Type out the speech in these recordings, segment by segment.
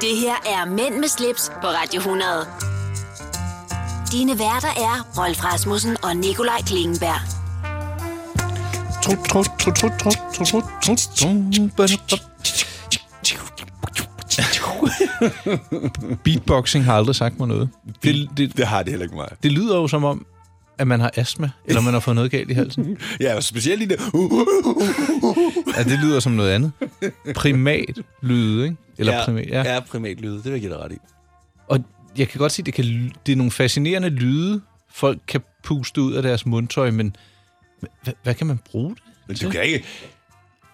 Det her er Mænd med slips på Radio 100. Dine værter er Rolf Rasmussen og Nikolaj Klingenberg. Trut, trut, trut, trut, trut, trut, trut, trut, trut, trut. Beatboxing har aldrig sagt mig noget. Det, det, Det har det heller ikke meget. det lyder jo som om, at man har astma, eller man har fået noget galt i halsen. Ja, og specielt i det. Uh, Ja, det lyder som noget andet. Primat lyde, ikke? Eller ja, primat, ja. ja primatlyde, det vil jeg give dig ret i. Og jeg kan godt se, at det, kan, ly- det er nogle fascinerende lyde, folk kan puste ud af deres mundtøj, men hvad, hvad kan man bruge det? Men du kan ikke...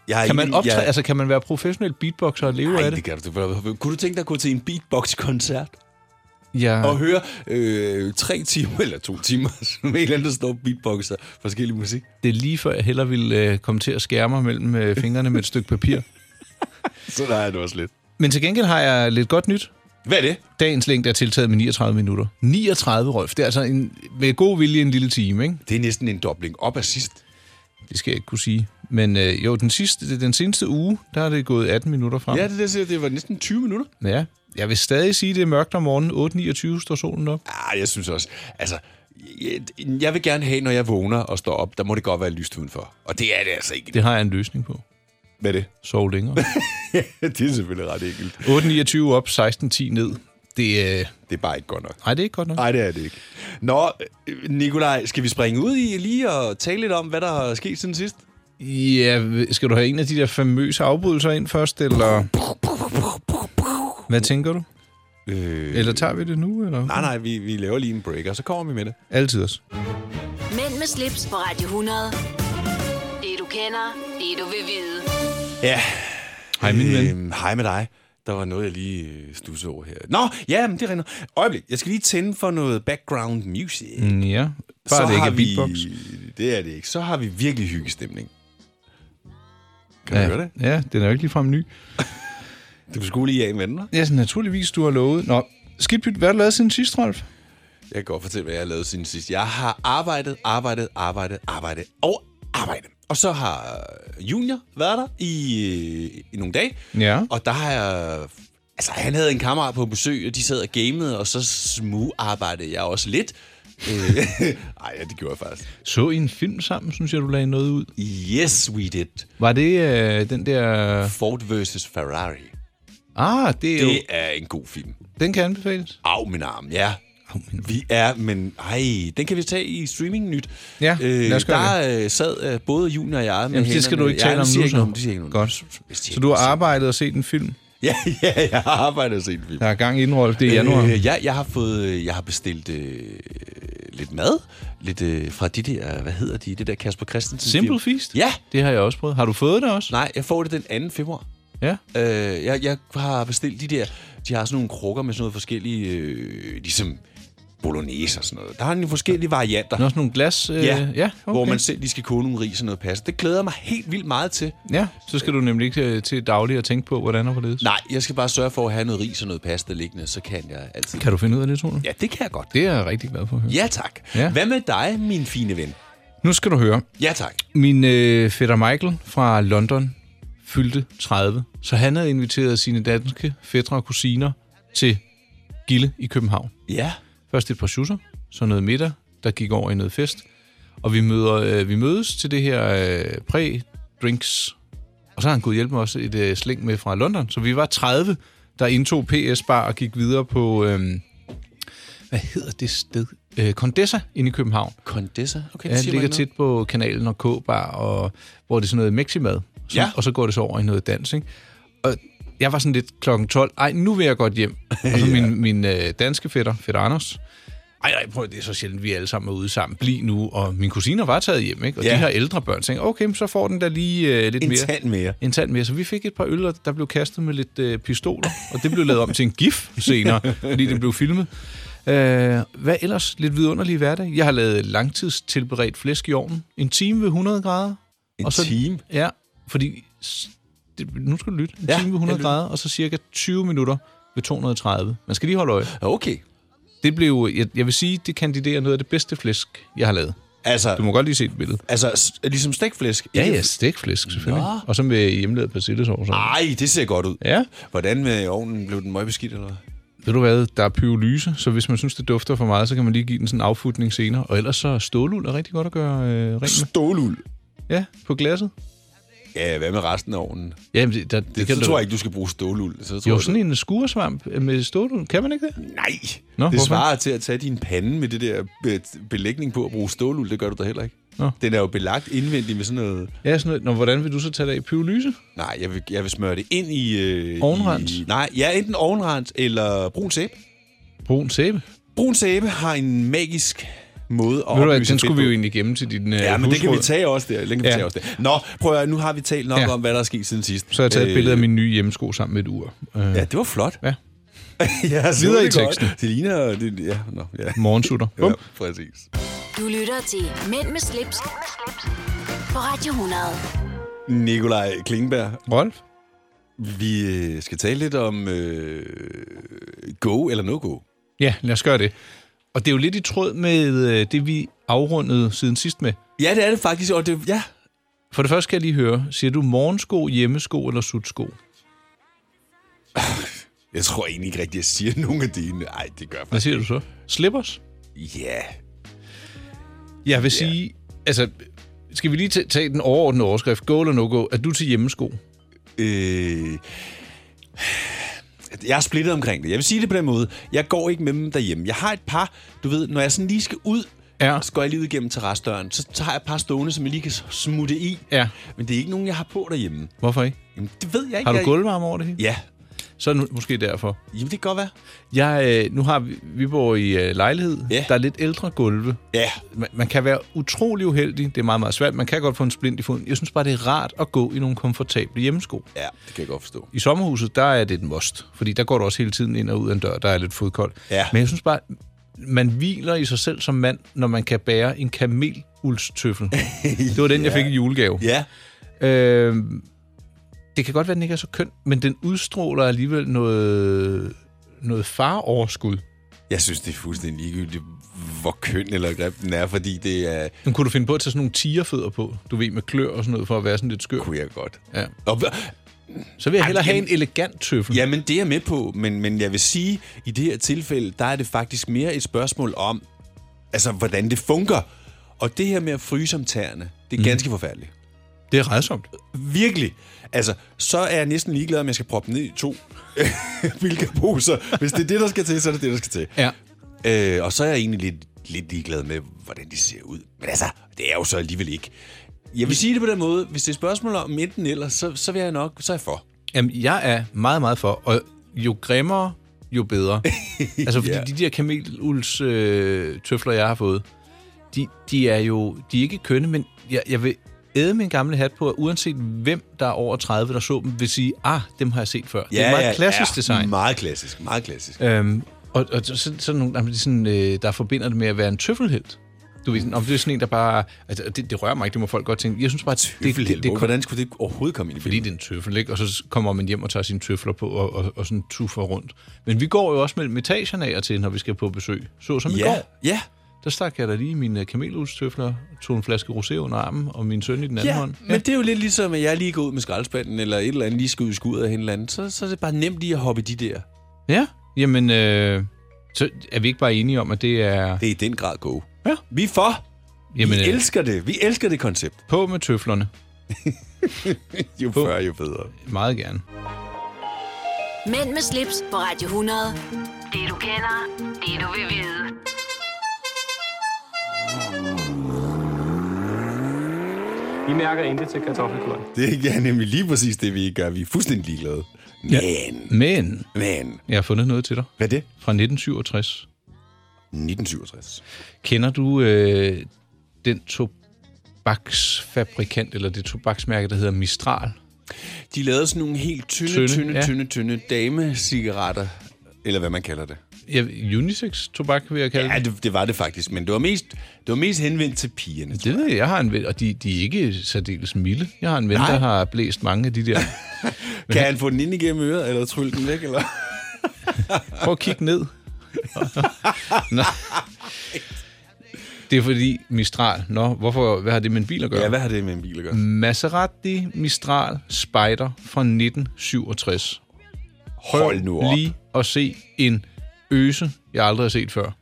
Jeg er Kan man enig- optræde, jeg- altså kan man være professionel beatboxer og leve Nej, af det det? kan du ikke. Kunne du tænke dig at gå til en beatbox-koncert? Ja, og høre øh, tre timer eller to timer, som en eller anden, der står og beatboxer forskellig musik. det er lige før, jeg hellere ville øh, komme til at skære mig mellem øh, fingrene med et stykke papir. Så der er det også lidt. Men til gengæld har jeg lidt godt nyt. Hvad er det? Dagens længde er tiltaget med 39 minutter. 39, Rolf. Det er altså en, med god vilje en lille time, ikke? Det er næsten en dobling op af sidst. Det skal jeg ikke kunne sige. Men øh, jo, den, sidste, den seneste uge, der er det gået 18 minutter frem. Ja, det der siger, det var næsten 20 minutter. ja. Jeg vil stadig sige, det er mørkt om morgenen. 8.29 står solen op. Ah, jeg synes også, altså, jeg, jeg vil gerne have, når jeg vågner og står op, der må det godt være lyst udenfor. Og det er det altså ikke. Det har jeg en løsning på. Hvad er det? Sov længere. det er selvfølgelig ret enkelt. 8.29 op, 16.10 ned. Det, øh, Det er bare ikke godt nok. nej, det er ikke godt nok. Nej, det er det ikke. Nå, øh, Nikolaj, skal vi springe ud i lige og tale lidt om, hvad der er sket siden sidst? Ja, skal du have en af de der famøse afbrydelser ind først, eller... Hvad tænker du? Øh, Eller tager vi det nu, eller? nej, nej, vi, vi laver lige en break, og så kommer vi med det. Altid også. Mænd med slips på Radio 100. Det du kender, det du vil vide. Ja, Hej, min ven. Øhm, hej med dig. Der var noget, jeg lige øh, stussede over her. Nå, ja, men det er rigtigt. Øjeblik, jeg skal lige tænde for noget background music. Mm. Mm, Ja, bare det ikke er beatbox. Det er det ikke. Så har vi virkelig hyggestemning. Kan ja. du høre det? Ja, den er jo ikke ligefrem ny. Du skulle lige af med den, hva'? Ja, så naturligvis, du har lovet. Nå, skidt pyt, hvad har du lavet siden sidst, Rolf? Jeg kan godt fortælle, hvad jeg har lavet siden sidst. Jeg har arbejdet, arbejdet, arbejdet, arbejdet og arbejdet. Og så har øh, Junior været der i, øh, i nogle dage. Ja. Og der har jeg... Altså, han havde en kammerat på besøg, og de sad og gamede, og så smugarbejdede jeg også lidt. Øh, Ej, ja, det gjorde jeg faktisk. Så I en film sammen, synes jeg, du lagde noget ud. Yes, we did. Var det øh, den der... Ford vs. Ferrari. Ah, det er jo... Det er en god film. Den kan anbefales. Af min arm, ja. min Vi er, men ej, den kan vi tage i streaming nyt. Ja, lad os gøre Der øh, sad øh, både Junior og jeg med Jamen, det skal hænderne- du ikke tale Ja, om de siger nu, ikke så. noget om- de siger ikke noget om- Godt. Hvis de Så du har ikke- arbejdet og set en film? Ja, ja, jeg har arbejdet og set en film. Der er gang inden, Rolf. Det er januar. Øh, jeg, jeg har fået, øh, jeg har bestilt øh, lidt mad, lidt øh, fra de der, hvad hedder de, det der Kasper Christensen Simple firma. Feast? Ja, Det har jeg også prøvet. Har du fået det også? nej, jeg får det den 2. februar. Ja. Øh, jeg, jeg har bestilt de der, de har sådan nogle krukker med sådan noget forskellige, øh, ligesom bolognese og sådan noget. Der har nogle forskellige varianter. Der er også nogle glas... Øh, Ja, ja okay. hvor man selv lige skal koge nogle ris og noget pasta. Det glæder jeg mig helt vildt meget til. Ja, så skal du nemlig ikke øh, til daglig at tænke på, hvordan og hvorledes. Nej, jeg skal bare sørge for at have noget ris og noget pasta liggende, så kan jeg altid. Kan du finde ud af det, Tone? Ja, det kan jeg godt. Det er jeg rigtig glad for at høre. Ja, tak. Ja. Hvad med dig, min fine ven? Nu skal du høre. Ja, tak. Min øh, fætter Michael fra London fyldte 30, så han havde inviteret sine danske fætter og kusiner til Gille i København. Ja. Først et par schusser, så noget middag, der gik over i noget fest. Og vi, møder, øh, vi mødes til det her øh, præ-drinks. Og så har han gået hjælpe mig også et øh, sling med fra London. Så vi var 30, der indtog PS-bar og gik videre på, øh, hvad hedder det sted? Øh, Condessa inde i København. Condessa? Ja, Okay, det det siger mig ligger ikke tit på kanalen og K-bar, og, hvor det er sådan noget meximad. Så, Ja. Og så går det så over i noget dans, ikke? Og jeg var sådan lidt klokken 12. Ej, nu vil jeg godt hjem. Og så min, min øh, danske fætter, fætter Anders. Ej, nej, prøv at- det er så sjældent, vi alle sammen er ude sammen. Bliv nu. Og mine kusiner var taget hjem, ikke? Og Ja. de her ældre børn tænkte, okay, men så får den da lige øh, lidt noget. mere. En tand mere. En tand mere. Så vi fik et par øl, og der blev kastet med lidt øh, pistoler. Og det blev lavet om til en gif senere, fordi det blev filmet. Øh, hvad ellers? Lidt vidunderlig hverdag. Jeg har lavet langtidstilberedt flæsk i ovnen. En time ved 100 grader. En Og så- time. Ja, fordi... s- Det, nu skal du lytte. En Ja, ja, time ved jeg 100 lytter. grader, og så cirka 20 minutter ved 230. Man skal lige holde øje. Okay. Det blev, jeg, jeg vil sige, det kandiderer noget af det bedste flæsk, jeg har lavet. Altså, Du må godt lige se et billede. altså s- ligesom stikflæsk. Ja, ja, stikflæsk selvfølgelig. Nå. Og så med hjemmelavet persillesovs. over. Ej, det ser godt ud. Ja. Hvordan med ovnen? Blev den møgbeskidt, eller hvad? Ved du hvad, der er pyrolyse, så hvis man synes, det dufter for meget, så kan man lige give den sådan en affutning senere. Og ellers så er ståluld er rigtig godt at gøre øh, rent med. Stålul. Ja, på glasset. Ja, hvad med resten af ovnen? Det, Jamen, det, der, det, det kan så du- tror jeg ikke, du skal bruge stålul. Så tror Jo, jeg, sådan en skuresvamp med ståluld. Kan man ikke det? Nej, Nå, Nå, det hvorfor? svarer til at tage din pande med det der be- belægning på at bruge stålul. Det gør du da heller ikke. Nå. Den er jo belagt indvendigt med sådan noget... Ja, sådan noget. Nå, hvordan vil du så tage det af? Pyrolyse? Nej, jeg vil, jeg vil smøre det ind i... Øh, Ovnrens? I, nej, ja, enten ovnrens eller brun sæbe. Brun sæbe? Brun sæbe har en magisk måde at Ved du hvad, opløse den skulle vi jo fedt på. egentlig gemme til din øh, Ja, men det kan vi husråd. tage også der. Den kan vi Ja. tage også der. Nå, prøv at høre, nu har vi talt nok Ja. ja. om, hvad der er sket siden sidst. Så har jeg taget et Øh, billede af min nye hjemmesko sammen med et ur. Øh, Ja, det var flot. Ja. ja, så Videre det i godt. teksten. Det ligner... Det, ja, nå, ja. Morgensutter. Bum. ja, præcis. Du lytter til Mænd med slips, Mænd med slips. på Radio 100. Nikolaj Klingberg, Rolf? Vi øh, skal tale lidt om øh, go eller no-go. Ja, lad os gøre det. Og det er jo lidt i tråd med øh, det, vi afrundede siden sidst med. Ja, det er det faktisk. Og det, ja. For det første skal jeg lige høre, siger du morgensko, hjemmesko eller sutsko? Jeg tror egentlig ikke rigtigt, jeg siger nogen af dine. Nej, det gør jeg Hvad faktisk. siger du så? Slippers? Ja. Jeg vil sige, altså, skal vi lige ta- tage den overordnede overskrift, go eller no-go, er du til hjemmesko? Øh, jeg er splittet omkring det. Jeg vil sige det på den måde. Jeg går ikke med dem derhjemme. Jeg har et par, du ved, når jeg sådan lige skal ud, Ja. så går jeg lige ud igennem terrassedøren. Så tager jeg et par stående, som jeg lige kan smutte i. Ja. Men det er ikke nogen, jeg har på derhjemme. Hvorfor ikke? Jamen, det ved jeg ikke. Har du jeg... gulvvarme over det hele? Ja. Så er det nu- måske derfor. Jamen, det kan godt være. Jeg, øh, nu har vi, vi bor i øh, lejlighed, Ja. der er lidt ældre gulve. Ja. Man, man kan være utrolig uheldig, det er meget, meget svært. Man kan godt få en splint i foden. Jeg synes bare, det er rart at gå i nogle komfortable hjemmesko. Ja, det kan jeg godt forstå. I sommerhuset, der er det et must, fordi der går du også hele tiden ind og ud af en dør, der er lidt fodkoldt. Ja. Men jeg synes bare, man hviler i sig selv som mand, når man kan bære en kameluldstøffel. Det var den, jeg fik i julegave. Ja. Øh, det kan godt være, den ikke er så køn, men den udstråler alligevel noget, noget faroverskud. Jeg synes, det er fuldstændig ligegyldigt, hvor køn eller grim den er, fordi det er... Men kunne du finde på at tage sådan nogle tigerfødder på, du ved, med klør og sådan noget, for at være sådan lidt skør? kunne jeg godt. Ja. Og, Så vil jeg hellere have en jamen- elegant tøffel. jamen, det er jeg med på, men, men jeg vil sige, i det her tilfælde, der er det faktisk mere et spørgsmål om, altså, hvordan det fungerer. Og det her med at fryse om tæerne, det er ganske forfærdeligt. Det er redsomt. Virkelig. Altså, så er jeg næsten ligeglad, om jeg skal proppe den ned i to bilkaposer. Hvis det er det, der skal til, så er det det, der skal til. Ja. Øh, og så er jeg egentlig lidt, lidt ligeglad med, hvordan de ser ud. Men altså, det er jo så alligevel ikke. Jeg vil sige det på den måde, hvis det er et spørgsmål om enten eller, så, så vil jeg nok, så er jeg for. Jamen, jeg er meget, meget for, og jo grimmere, jo bedre. altså, fordi Ja. de der kamelulds øh, tøfler, jeg har fået, de, de er jo de er ikke kønne, men jeg, jeg vil æde min gamle hat på, at uanset hvem, der er over 30, der så dem, vil sige, ah, dem har jeg set før. det er meget klassisk design. Meget klassisk, meget klassisk. Øhm, og, og så- så, sådan nogle, jamen, de sådan, øh, der forbinder det med at være en tøffelhelt. Du ved, sådan, om det er sådan en, der bare... Altså, det, det rører mig ikke, det må folk godt tænke. Jeg synes bare, at det, det, det, det, hvordan skulle det overhovedet komme ind i fordi det er en tøffel, ikke? Og så kommer man hjem og tager sine tøfler på og, og, og sådan tuffer rundt. Men vi går jo også mellem etagerne af og til, når vi skal på besøg. Så som i Ja, går, ja, der stak jeg da lige mine kamelhudstøfler, tog en flaske rosé under armen og min søn i den anden ja, hånd. men det er jo lidt ligesom, at jeg lige går ud med skraldespanden, eller et eller andet lige skal ud i skuret af en eller anden, så, så er det bare nemt lige at hoppe i de der. ja, jamen, øh, så er vi ikke bare enige om, at det er... Det er i den grad go. Ja. Vi er for. Jamen, vi øh, elsker det. Vi elsker det koncept. på med tøflerne. Jo før, jo bedre. Meget gerne. Mænd med slips på Radio 100. Det du kender, det du vil vide. Vi mærker intet til kartoffelkuren. Det er nemlig lige præcis det, vi gør. Vi er fuldstændig ligeglade. Men, Men men. jeg har fundet noget til dig Hvad er det? fra 1967. 1967. Kender du øh, den tobaksfabrikant, eller det tobaksmærke, der hedder Mistral? De lavede sådan nogle helt tynde, Tynde, tynde, tynde, ja. ja. tynde, tynde damecigaretter. Eller hvad man kalder det. Ja, unisex-tobak, vil jeg kalde Ja, det, det var det faktisk. Men det var mest, det var mest henvendt til pigerne. det. Det ved jeg, jeg har en ven, og de, de er ikke særdeles milde. Jeg har en ven, Nej. der har blæst mange af de der. Kan han få den ind igennem øret, eller trylle den væk? Eller? Prøv at kigge ned. Nå. Det er fordi Mistral. Nå, hvorfor, hvad har det med en bil at gøre? Ja, hvad har det med en bil at gøre? Mm. Maserati Mistral Spider fra 1967. Hold nu op. Lige at se en øse, jeg aldrig har set før.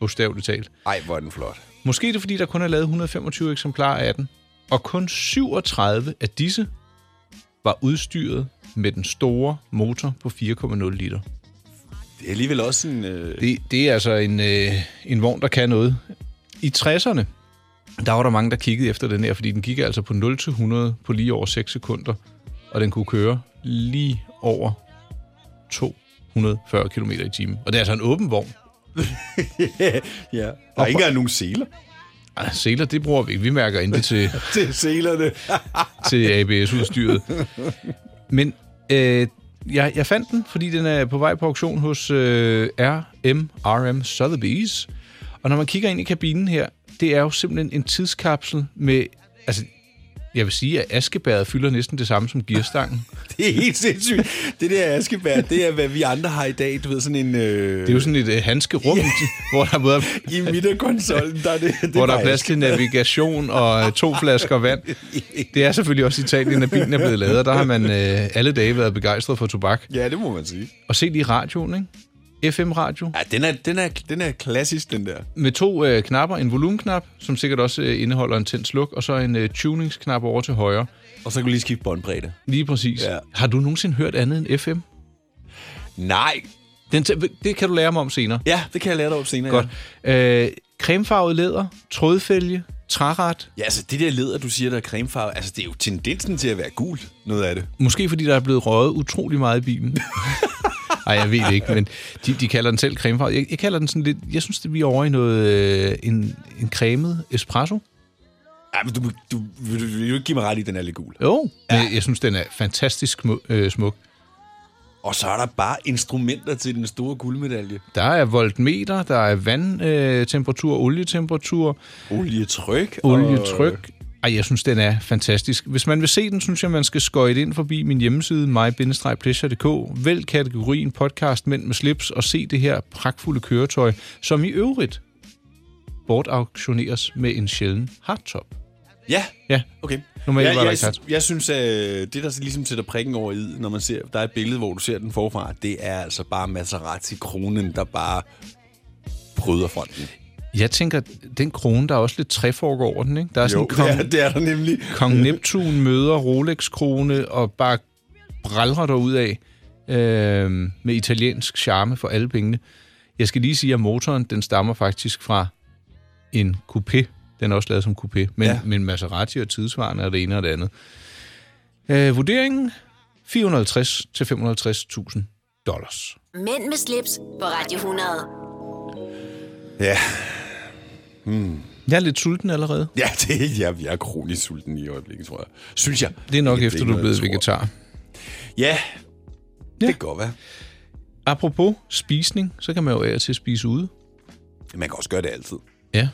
Bogstaveligt talt. Ej, hvor er den flot. Måske er det, fordi der kun er lavet 125 eksemplarer af den, og kun 37 af disse var udstyret med den store motor på 4,0 liter. Det er alligevel også en... Øh... Det, det er altså en, øh, en vogn, der kan noget. I 60'erne, der var der mange, der kiggede efter den her, fordi den gik altså på 0-100 på lige over 6 sekunder, og den kunne køre lige over 240 km i timen. Og det er altså en åben vogn. ja. Der er ikke engang nogen seler. Ej, seler, Altså, det bruger vi ikke. Vi mærker ikke til, Det er selerne. til ABS-udstyret. Men øh, jeg, jeg fandt den, fordi den er på vej på auktion hos øh, RMRM Sotheby's. Og når man kigger ind i kabinen her, det er jo simpelthen en tidskapsel med... Altså, jeg vil sige, at askebæret fylder næsten det samme som gearstangen. det er helt sindssygt. Det der askebær, det er, hvad vi andre har i dag. Du ved, sådan en... Øh... Det er jo sådan et øh, handskerum, hvor der både er, I midterkonsollen, der er det... det hvor der er bare plads til navigation og øh, to flasker vand. Det er selvfølgelig også Italien, at bilen er blevet lavet, og der har man øh, alle dage været begejstret for tobak. aske. Ja, det må man sige. Og se det i radioen, ikke? FM-radio. Ja, den er, den er, den er klassisk, den der. Med to øh, knapper. En volumenknap, som sikkert også øh, indeholder en tændt sluk, og så en øh, tuningsknap over til højre. Og så kan du lige skifte båndbredde. Lige præcis. Ja. Ja. Har du nogensinde hørt andet end FM? Nej. Den tæ- det kan du lære mig om senere. Ja, det kan jeg lære dig op senere. Godt. Øh, cremefarvet læder, trådfælge, træret. Ja, altså det der leder, du siger, der er cremefarve, altså det er jo tendensen til at være gul, noget af det. Måske fordi der er blevet røget utrolig meget i bilen. Nej, jeg ved det ikke, men de, de kalder den selv cremefarvet. Jeg, jeg kalder den sådan lidt... Jeg synes, det vi er over i noget... Øh, en, en cremet espresso. Ja, men du, du, vil, du, vil du ikke give mig ret i, at den er lidt gul. Jo, ja. men jeg synes, den er fantastisk smu- øh, smuk. Og så er der bare instrumenter til den store guldmedalje. Der er voltmeter, der er vandtemperatur, olietemperatur, Olietryk. olietryk. Ej, jeg synes, den er fantastisk. Hvis man vil se den, synes jeg, man skal skøjte ind forbi min hjemmeside, my-pleasure.dk. Vælg kategorien podcast Mænd med slips og se det her pragtfulde køretøj, som i øvrigt bortauktioneres med en sjælden hardtop. Og, ja, Ja, okay. Normalt var jeg, der jeg, ikke hat. sy- jeg synes, at det, der ligesom sætter prikken over i, når man ser, der er et billede, hvor du ser den forfra, det er altså bare Maserati-kronen, der bare bryder fronten. Jeg tænker, den krone, der er også lidt træfork over den, ikke? Der er sådan en det kong, er, det er der nemlig. Kong Neptun møder Rolex-krone og bare bralrer derud af øh, med italiensk charme for alle pengene. Jeg skal lige sige, at motoren den stammer faktisk fra en coupé. Den er også lavet som coupé, men, Ja. ja. men Maserati og tidsvarende er det ene og det andet. Øh, vurderingen? 450-550.000 dollars. Mænd med slips på Radio 100. Ja, Jeg er lidt sulten allerede. ja det, jeg, jeg er kronisk sulten i øjeblikket, tror jeg. Synes jeg. Det er nok Ikke efter, det, du er jeg blevet tror. vegetar. Ja, Ja. det kan godt være. Apropos spisning, så kan man jo af og til spise ude. Man kan også gøre det altid. Ja.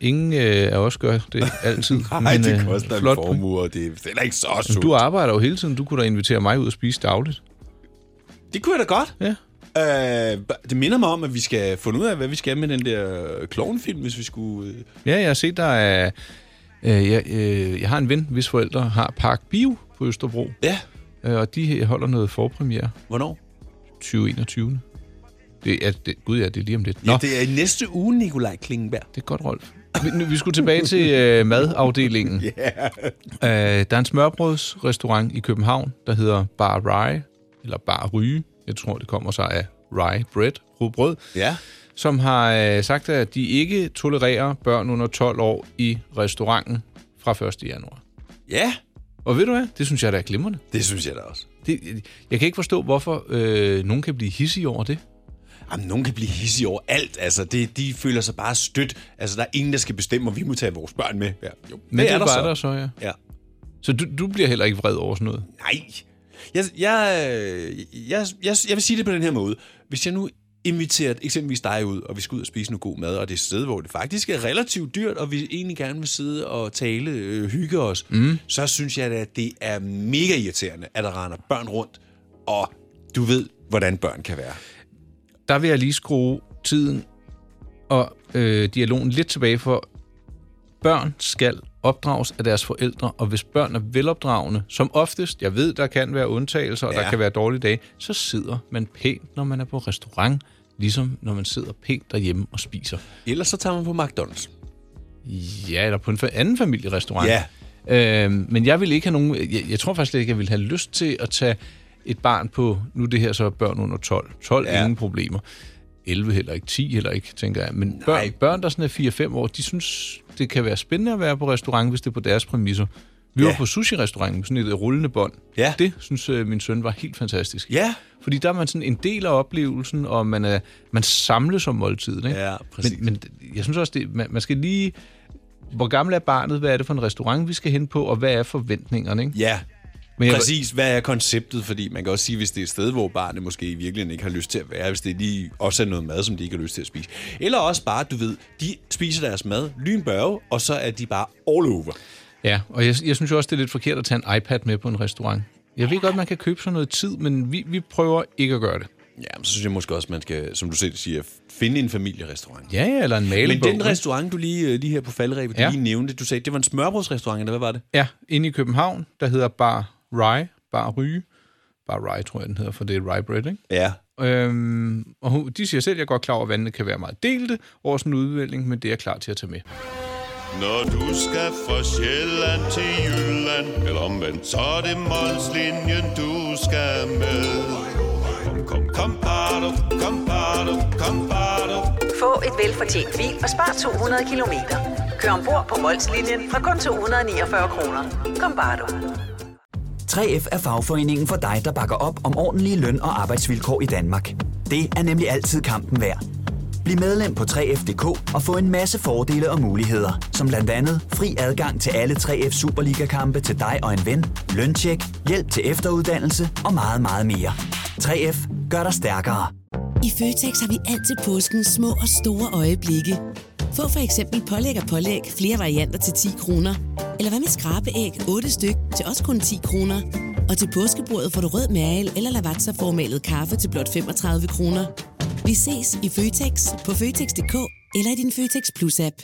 Ingen øh, af os gør det altid. Nej, men, det øh, koster en flot point. formue, og det er heller ikke så Men sundt. Du arbejder jo hele tiden. Du kunne da invitere mig ud og spise dagligt. Det kunne jeg da godt. Ja. Øh, det minder mig om, at vi skal finde ud af, hvad vi skal med den der klovnfilm, hvis vi skulle... øh, Ja, jeg har set, der er... Øh, jeg, øh, jeg har en ven, hvis forældre har Park Bio på Østerbro, Ja, øh, og de holder noget forpremiere hvornår? 2021. Det er, det, gud ja, det er lige om lidt. Nå, Ja, det... det er i næste uge, Nikolaj Klingenberg. det er godt, Rolf. Vi, nu- vi skulle tilbage til øh, madafdelingen. Yeah. Øh, der er en smørbrødsrestaurant i København, der hedder Bar Rye, eller Bar Ryge. Jeg tror, det kommer sig af rye bread, rugbrød. Ja. som har øh, sagt, at de ikke tolererer børn under 12 år i restauranten fra 1. januar. Ja, Og ved du hvad? Det synes jeg, der er glimrende. det synes jeg da også. Det, jeg kan ikke forstå, hvorfor øh, nogen kan blive hissige over det. Jamen, nogen kan blive hissige over alt. Altså, det, de føler sig bare stødt. Altså, der er ingen, der skal bestemme, om vi må tage vores børn med. Ja, jo. Men det, er der bare så. der så, ja. Ja. Så du, du bliver heller ikke vred over sådan noget. Nej. Jeg, jeg, øh, jeg, jeg, jeg vil sige det på den her måde. Hvis jeg nu inviterer eksempelvis dig ud, og vi skal ud og spise noget god mad, og det er et sted, hvor det faktisk er relativt dyrt, og vi egentlig gerne vil sidde og tale, øh, hygge os, mm. så synes jeg, da, at det er mega irriterende, at der render børn rundt, og du ved, hvordan børn kan være. Der vil jeg lige skrue tiden og øh, dialogen lidt tilbage, for børn skal opdrages af deres forældre, og hvis børn er velopdragende, som oftest, jeg ved, der kan være undtagelser, og ja. der Ja. kan være dårlige dage, så sidder man pænt, når man er på restaurant, ligesom når man sidder pænt derhjemme og spiser. Ellers så tager man på McDonald's. Ja, eller på en fa- anden familierestaurant. Ja. Øhm, men jeg vil ikke have nogen... Jeg, jeg tror faktisk ikke, jeg vil have lyst til at tage et barn på... Nu er det her så børn under 12. 12, ja. Ja. ingen problemer. 11 heller ikke, 10 heller ikke, tænker jeg. Men børn, børn, der sådan er 4-5 år, de synes, det kan være spændende at være på restaurant, hvis det er på deres præmisser. Vi ja. Ja. var på sushi-restauranten, sådan et rullende bånd. Ja. Det synes øh, min søn var helt fantastisk. Ja. Fordi der er man sådan en del af oplevelsen, og man, er, man samles om måltiden. Ikke? Ja, præcis. Men, men jeg synes også, det, man, man skal lige... Hvor gammel er barnet? Hvad er det for en restaurant, vi skal hen på? Og hvad er forventningerne? Ikke? Ja, Men jeg, præcis. Hvad er konceptet? Fordi man kan også sige, hvis det er et sted, hvor barnet måske i virkeligheden ikke har lyst til at være, hvis det lige også er noget mad, som de ikke har lyst til at spise. Eller også bare, du ved, de spiser deres mad lynbørge, og så er de bare all over. Ja, og jeg, jeg synes jo også, det er lidt forkert at tage en iPad med på en restaurant. Jeg ved godt, man kan købe sådan noget tid, men vi, vi prøver ikke at gøre det. Ja, men så synes jeg måske også, man skal, som du selv siger, finde en familierestaurant. Ja, ja, eller en Men malebog. den restaurant, du lige, øh, lige her på faldrebet, du Ja. ja. lige nævnte, du sagde, det var en smørbrødsrestaurant, eller hvad var det? Ja, inde i København, der hedder Bar Rye. Bar Ryge. Bar Rye, tror jeg, den hedder, for det er rye bread, ikke? Ja. Øhm, og hun- de siger selv, at jeg er godt klar over, at vandene kan være meget delte over sådan en udvælgning, men det er jeg klar til at tage med. Når du skal fra Sjælland til Jylland Eller omvendt, så er det Molslinjen, du skal med Kom, kom, kom, bado, kom, bado, kom, bado. Få et velfortjent bil og spar 200 kilometer. Kør ombord på Molslinjen fra kun 249 kroner. Kom bare du. 3F er fagforeningen for dig, der bakker op om ordentlige løn- og arbejdsvilkår i Danmark. Det er nemlig altid kampen værd. Bliv medlem på 3F.dk og få en masse fordele og muligheder, som blandt andet fri adgang til alle 3F Superliga-kampe til dig og en ven, løntjek, hjælp til efteruddannelse og meget, meget mere. 3F gør dig stærkere. I Føtex har vi altid påskens små og store øjeblikke. Få for eksempel pålæg og pålæg flere varianter til 10 kroner. Eller hvad med skrabeæg 8 styk til også kun 10 kroner. Og til påskebordet får du rød mal eller lavatserformalet kaffe til blot 35 kroner. Vi ses i Føtex på Føtex.dk eller i din Føtex Plus-app.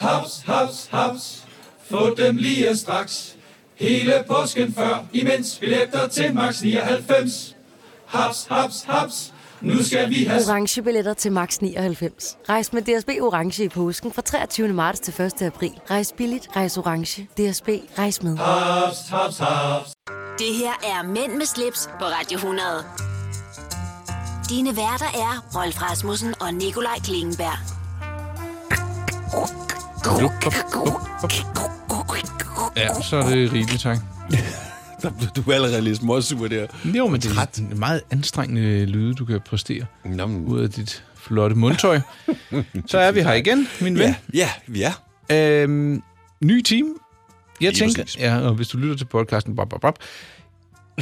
Haps, haps, haps. Få dem lige straks. Hele påsken før, imens billetter til max 99. Haps, haps, haps. Nu skal vi have Orange billetter til max 99. Rejs med DSB Orange i påsken fra 23. marts til 1. april. Rejs billigt, rejs orange. DSB, rejs med. haps, haps, haps. Det her er Mænd med slips på Radio 100. Dine værter er Rolf Rasmussen og Nikolaj Klingenberg. Ja, så er det rigeligt, tak. Der blev du allerede lidt småsur der. Jo, men det er en meget anstrengende lyde, du kan præstere Nå, men, ud af dit flotte mundtøj. så er vi her igen, min ven. ja, ja, ja. Øhm, ny team. Jeg Lige tænker, præcis. ja, og hvis du lytter til podcasten, bop, bop, bop.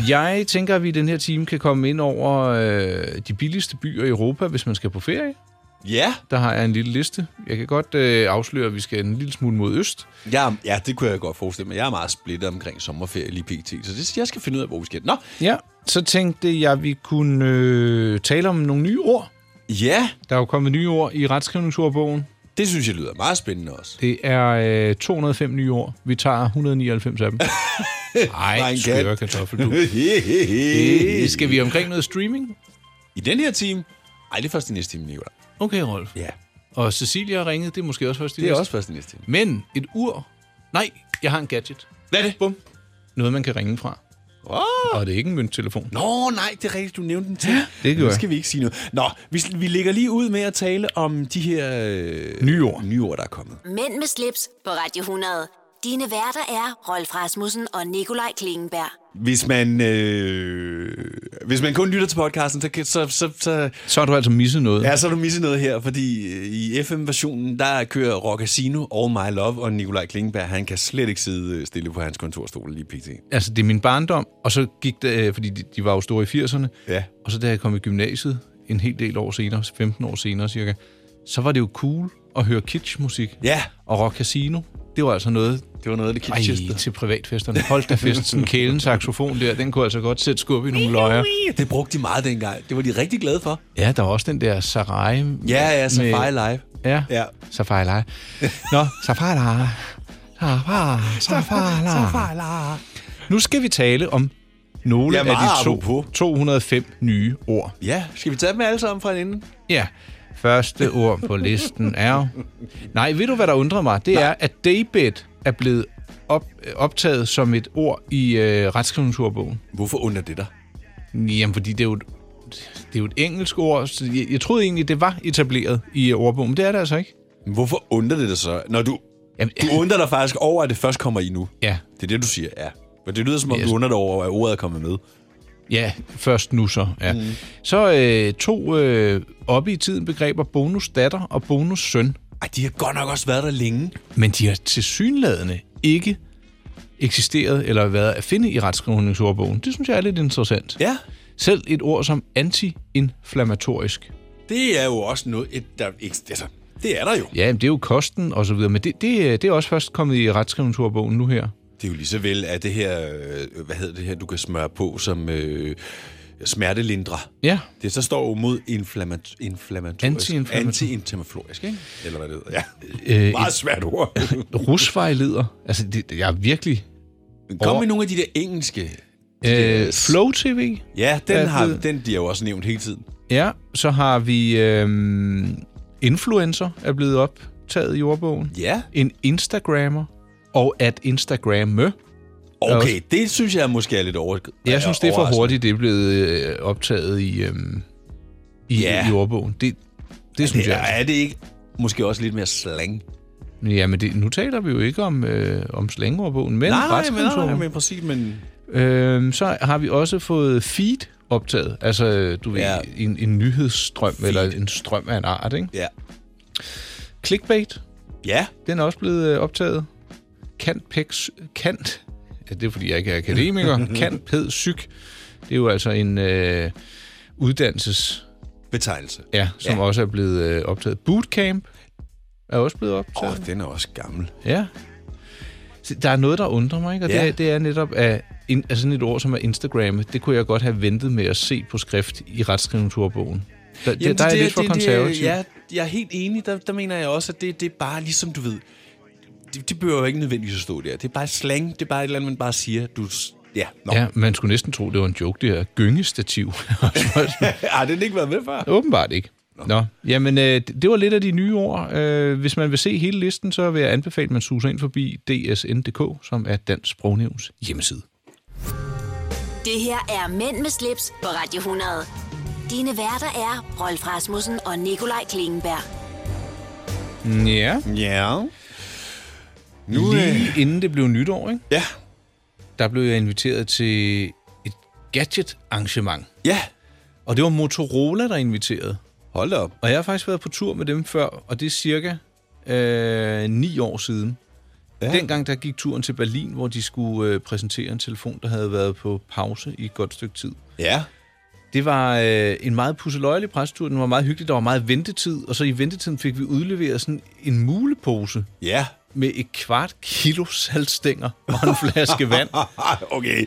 Jeg tænker, at vi i den her time kan komme ind over øh, de billigste byer i Europa, hvis man skal på ferie. Ja, Der har jeg en lille liste. Jeg kan godt øh, afsløre, at vi skal en lille smule mod øst. ja, ja, det kunne jeg godt forestille mig. Jeg er meget splittet omkring sommerferie lige pt. Så det, jeg skal finde ud af, hvor vi skal. Nå, Ja, så tænkte jeg, at vi kunne øh, tale om nogle nye ord. ja, Der er jo kommet nye ord i retskrivningsordbogen. det synes jeg lyder meget spændende også. Det er øh, 205 nye ord. Vi tager 199 af dem. Nej, Regn skøre kat. kartoffel, du. I Øh, Skal vi omkring noget streaming? den her time? Ej, det er først i næste time, Nicolaj. Okay, Rolf. Ja, Og Cecilia har ringet, det er måske også først i det er næste. også først i næste time. Men et ur? Nej, jeg har en gadget. Hvad er det? Bum. Noget, man kan ringe fra. Oh. Og det er ikke en mønttelefon. Nå, nej, det er rigtigt, du nævnte den til. det gjorde Nu jeg. skal vi ikke sige noget. Nå, vi, vi lægger lige ud med at tale om de her øh, Nye ord. nye ord, der er kommet. Mænd med slips på Radio 100. Dine værter er Rolf Rasmussen og Nikolaj Klingenberg. Hvis man, øh, hvis man kun lytter til podcasten, så, kan- så, så, så, Så har du altså misset noget. ja, så har du misset noget her, fordi øh, i FM-versionen, der kører Rockasino og My Love, og Nikolaj Klingenberg, han kan slet ikke sidde øh, stille på hans kontorstol lige pt. Altså, det er min barndom, og så gik det, øh, fordi de, de var jo store i 80'erne, Ja. og så da jeg kom i gymnasiet, en hel del år senere, 15 år senere cirka, så var det jo cool at høre kitschmusik. Ja. Og Rock Casino, det var altså noget, Det var noget af det ej, til privatfesterne. Hold da fest, sådan kælen saxofon der, den kunne altså godt sætte skub i nogle løjer. Det brugte de meget dengang. Det var de rigtig glade for. Ja, der var også den der Sarai. Ja, ja, så med- Fire Live. Ja. Ja. Safari. Nå, Safari. Safari. Safari. Safari. Nu skal vi tale om nogle Ja, af meget de to, apropos. 205 nye ord. Ja, skal vi tage dem alle sammen fra en ende? Ja. Første ord på listen er... Nej, ved du, hvad der undrer mig? Det Nej. er, at daybed er blevet op, optaget som et ord i øh, retskrivningsordbogen. Hvorfor under det dig? Jamen, fordi det er jo et, det er jo et engelsk ord. Så jeg, jeg troede egentlig, det var etableret i øh, ordbogen, men det er det altså ikke. Hvorfor undrer det dig så, når du... Jamen, Du undrer dig faktisk over, at det først kommer i nu. ja, Det er det, du siger, ja. Men det lyder som om, Yes. du undrer dig over, at ordet er kommet med. Ja, først nu så. Ja. Mm. Så øh, to øh, oppe i tiden begreber bonusdatter og bonussøn. Ej, de har godt nok også været der længe. Men de har tilsyneladende ikke eksisteret eller været at finde i retskrivningsordbogen. Det synes jeg er lidt interessant. Ja. Selv et ord som antiinflammatorisk. Det er jo også noget, et, der, ikke, altså, det er der jo. Ja, men det er jo kosten og så videre, men det, det, øh, det er også først kommet i retskrivningsordbogen nu her. Det er jo lige så vel, at det her, øh, hvad hedder det her, du kan smøre på som øh, smertelindre. Ja, Det så står jo mod inflammat- inflammatorisk. Anti-inflammatorisk. Anti-inflammatorisk, ikke? Eller hvad det hedder. Ja. Øh, Øh, Meget svært ord. rusvejleder. Altså, det, jeg er virkelig... Kom med nogle af de der engelske. Øh, Flow TV. Ja, Hvad den, har, hed- den bliver jo også nævnt hele tiden. Ja, så har vi øhm, influencer er blevet optaget i ordbogen. Ja. En Instagrammer og at Instagramme. Okay, det synes jeg måske er lidt over. Jeg synes, det er for overraskende. hurtigt, det er blevet øh, optaget i, øhm, i, Ja. i ordbogen. Det, det synes Det jeg. er, er det ikke måske også lidt mere slang? altså. Jamen, det, nu taler vi jo ikke om, øh, om slangordbogen, men retskrivningsordbogen. præcis, men... Øhm, så har vi også fået feed optaget. Altså, øh, du ved, Ja. en, en nyhedsstrøm, Feed. eller en strøm af en art, ikke? Ja. Clickbait. Ja, Den er også blevet øh, optaget. Kant Pex... Kant... Ja, det er, fordi jeg ikke er akademiker. Kant Ped Syg. Det er jo altså en øh, uddannelses... betegnelse. Ja, som ja. også er blevet øh, optaget. Bootcamp er også blevet Åh, optaget. oh, den er også gammel. Oh. Ja. Så der er noget, der undrer mig, ikke? Og ja. det, Ja. er, det er netop af, in, af sådan et ord som er Instagram. Det kunne jeg godt have ventet med at se på skrift i retskrivningsordbogen. Der, Jamen, der, der er jeg lidt for konservativ. Ja, jeg er helt enig. Der, der mener jeg også, at det, det er bare ligesom, du ved... Det, det behøver jo ikke nødvendigvis at stå der. Det er bare slang. Det er bare et eller andet, man bare siger. Du, s- ja, nå. Ja, man skulle næsten tro, det var en joke, det her gyngestativ. Har den ikke været med før? Åbenbart ikke. Nå. Nå. Jamen, øh, det det var lidt af de nye ord. Øh, hvis man vil se hele listen, så vil jeg anbefale, at man suser ind forbi dsn.dk, som er Dansk Sprognævns hjemmeside. Det her er Mænd med slips på Radio 100. Dine værter er Rolf Rasmussen og Nikolaj Klingenberg. Ja, Ja. Nu, øh, lige inden det blev nytår, ikke? ja. der blev jeg inviteret til et gadget-arrangement. Ja. Og det var Motorola, der inviterede. Hold da op. Og jeg har faktisk været på tur med dem før, og det er cirka øh, ni år siden. Ja. Dengang der gik turen til Berlin, hvor de skulle øh, præsentere en telefon, der havde været på pause i et godt stykke tid. Ja. Det var øh, en meget pusseløjelig præstur. Den var meget hyggelig. Der var meget ventetid. Og så i ventetiden fik vi udleveret sådan en mulepose Ja. med et kvart kilo saltstænger og en flaske vand. okay.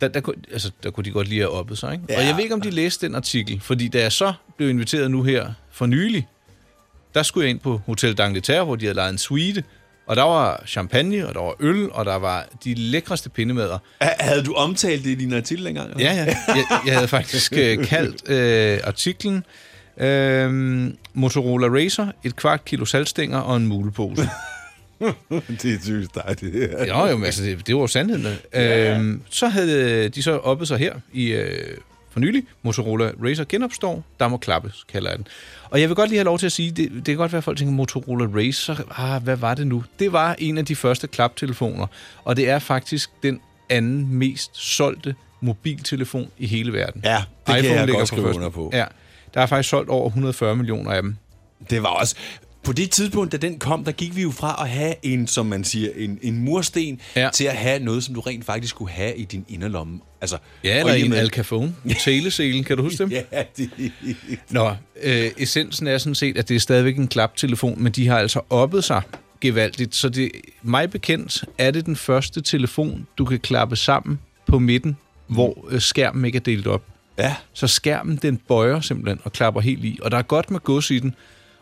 Der, der, kunne, altså, der kunne de godt lige have oppet sig. Ikke? Ja. Og jeg ved ikke, om de læste den artikel. Fordi da jeg så blev inviteret nu her for nylig, der skulle jeg ind på Hotel D'Angleterre, hvor de havde lejet en suite. Og der var champagne, og der var øl, og der var de lækreste pindemader. Ha- Havde du omtalt det i din artikel engang? eller? Ja, ja. Jeg, jeg havde faktisk øh, kaldt øh, artiklen øh, Motorola Racer, et kvart kilo saltstænger og en mulepose. det synes jeg, det er. Jo, jo, men altså, det, det var jo sandheden. Ja. Øh, så havde de så oppet sig her i øh, for nylig. Motorola Racer genopstår. Der må klappes, kalder jeg den. Og jeg vil godt lige have lov til at sige, det, det kan godt være, at folk tænker, Motorola Racer, ah, hvad var det nu? Det var en af de første klaptelefoner, og det er faktisk den anden mest solgte mobiltelefon i hele verden. Ja, det kan jeg godt ligger skrive førsten. under på. Ja, der er faktisk solgt over 140 millioner af dem. Det var også... På det tidspunkt, da den kom, der gik vi jo fra at have en, som man siger, en, en mursten, Ja. ja. til at have noget, som du rent faktisk skulle have i din inderlomme. Altså, Ja, og eller i og en med- Al Capone. Teleselen, kan du huske dem? Ja, det... Nå, øh, essensen er sådan set, at det er stadigvæk en klaptelefon, men de har altså oppet sig gevaldigt. Så det, mig bekendt er det den første telefon, du kan klappe sammen på midten, hvor øh, skærmen ikke er delt op. Ja, Så skærmen, den bøjer simpelthen og klapper helt i. Og der er godt med gods i den.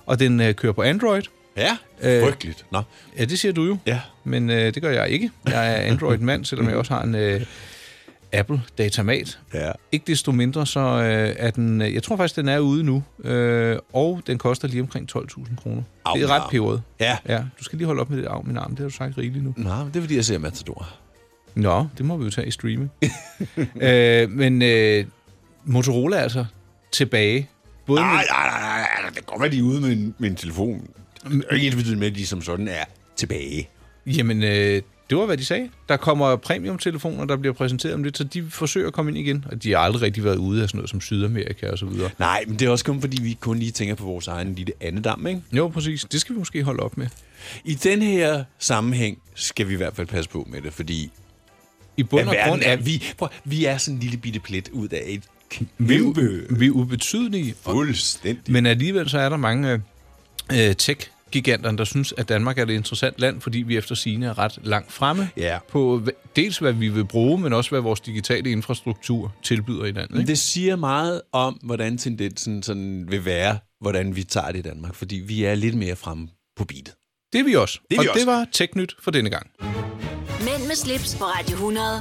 og den øh, kører på Android. Ja, Øh, frygteligt. Nå. Ja, det siger du jo. Ja. Men øh, det gør jeg ikke. Jeg er Android-mand, selvom jeg også har en øh, Apple-datamat. Ja. Ikke desto mindre, så øh, er den... øh, Jeg tror faktisk, den er ude nu. Øh, og den koster lige omkring 12.000 kroner. Au, Det er min ret arm. peberet. Ja. Mm. Ja, du skal lige holde op med det af min arm. Det har du sagt rigeligt nu. Nå, men det er fordi, jeg ser Matador. Nå, det må vi jo tage i streaming. øh, men øh, Motorola er altså tilbage. Både med, Nej, nej, nej, nej, nej, det kan godt være, de er ude med en, med en telefon. Det er ikke ens betydende med, at de som sådan er tilbage. Jamen, øh, det var, hvad de sagde. Der kommer premium-telefoner, der bliver præsenteret om lidt, så de forsøger at komme ind igen. Og de har aldrig rigtig været ude af sådan noget som Sydamerika og så videre. Nej, men det er også kun fordi, vi kun lige tænker på vores egen lille andedam, ikke? Jo, præcis. Det skal vi måske holde op med. I den her sammenhæng skal vi i hvert fald passe på med det, fordi I bund og grund er er vi, vi, prøv, vi er sådan en lille bitte plet ud af et vi, er kæmpe... u- vi er ubetydelige. Og, Fuldstændig. men alligevel så er der mange øh, øh, tech-giganter, der synes, at Danmark er et interessant land, fordi vi efter sine er ret langt fremme Ja. på hva- dels, hvad vi vil bruge, men også, hvad vores digitale infrastruktur tilbyder i landet. Men Ikke? det siger meget om, hvordan tendensen sådan vil være, hvordan vi tager det i Danmark, fordi vi er lidt mere fremme på beatet. Det er vi også. Det er og vi det også. var TechNyt for denne gang. Mænd med slips på Radio 100.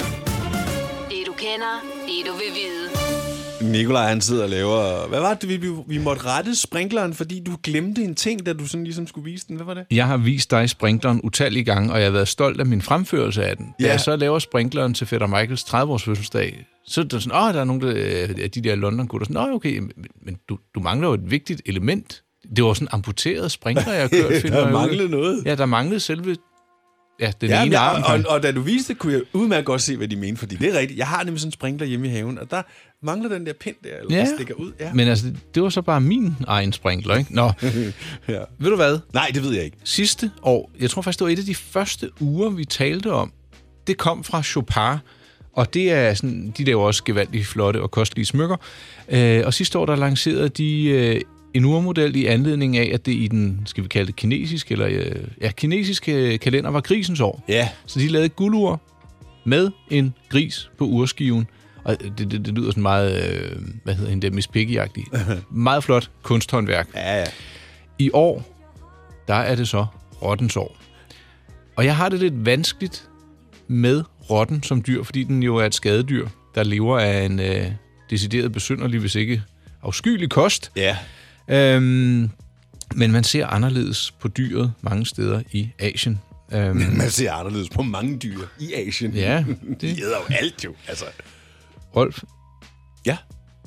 Det du kender, det du vil vide. Nikolaj, han sidder og laver... Hvad var det, vi, vi, vi måtte rette sprinkleren, fordi du glemte en ting, da du sådan ligesom skulle vise den? Hvad var det? Jeg har vist dig sprinkleren utallige gange, og jeg har været stolt af min fremførelse af den. Ja. Da Ja. jeg så laver sprinkleren til Fætter Michaels 30-års fødselsdag, så er der sådan, åh, der er nogle der, øh, af de der London-gutter, sådan, åh, okay, men, men du, du mangler jo et vigtigt element. Det var sådan en amputeret sprinkler, jeg har kørt. finder Der jeg ud af. manglede noget. Ja, der manglede selve, ja, den Ja, ene men, arm. og, og, og da du viste det, kunne jeg udmærket godt se, hvad de mente, fordi det er rigtigt. Jeg har nemlig sådan en sprinkler hjemme i haven, og der mangler den der pind der, eller ja. der stikker ud. Ja. Men altså, det var så bare min egen sprinkler, ikke? Nå, ja. ved du hvad? Nej, det ved jeg ikke. sidste år, jeg tror faktisk, det var et af de første uger, vi talte om, det kom fra Chopin, og det er sådan, de laver også gevaldigt flotte og kostelige smykker. Øh, og sidste år, der lancerede de øh, en urmodel i anledning af, at det i den, skal vi kalde det kinesiske, eller øh, ja, kinesiske øh, kalender var grisens år. Ja. Så de lavede et guldur med en gris på urskiven. Og det, det, det lyder sådan meget, øh, hvad hedder hende der, Miss piggy Meget flot kunsthåndværk. Ja, ja. I år, der er det så rottens år. Og jeg har det lidt vanskeligt med rotten som dyr, fordi den jo er et skadedyr, der lever af en øh, decideret besynderlig, hvis ikke afskyelig kost. Ja. Øhm, men man ser anderledes på dyret mange steder i Asien. Øhm, Man ser anderledes på mange dyr i Asien. ja, De det, æder jo alt jo, altså. Rolf, Ja.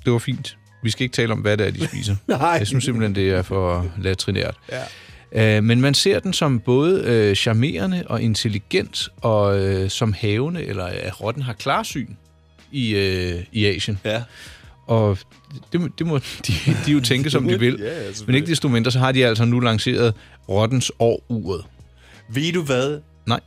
det var fint. Vi skal ikke tale om, hvad det er, de spiser. Nej. Jeg synes simpelthen, det er for latrinært. Ja. Øh, men man ser den som både øh, charmerende og intelligent, og øh, som havende, eller at rotten har klarsyn i, øh, i Asien. Ja. Og det, må- det må de, de jo tænke, som de vil. Ja, ja, men selvfølgelig. ikke desto mindre, så har de altså nu lanceret rottens år-uret. Ved du hvad? Nej.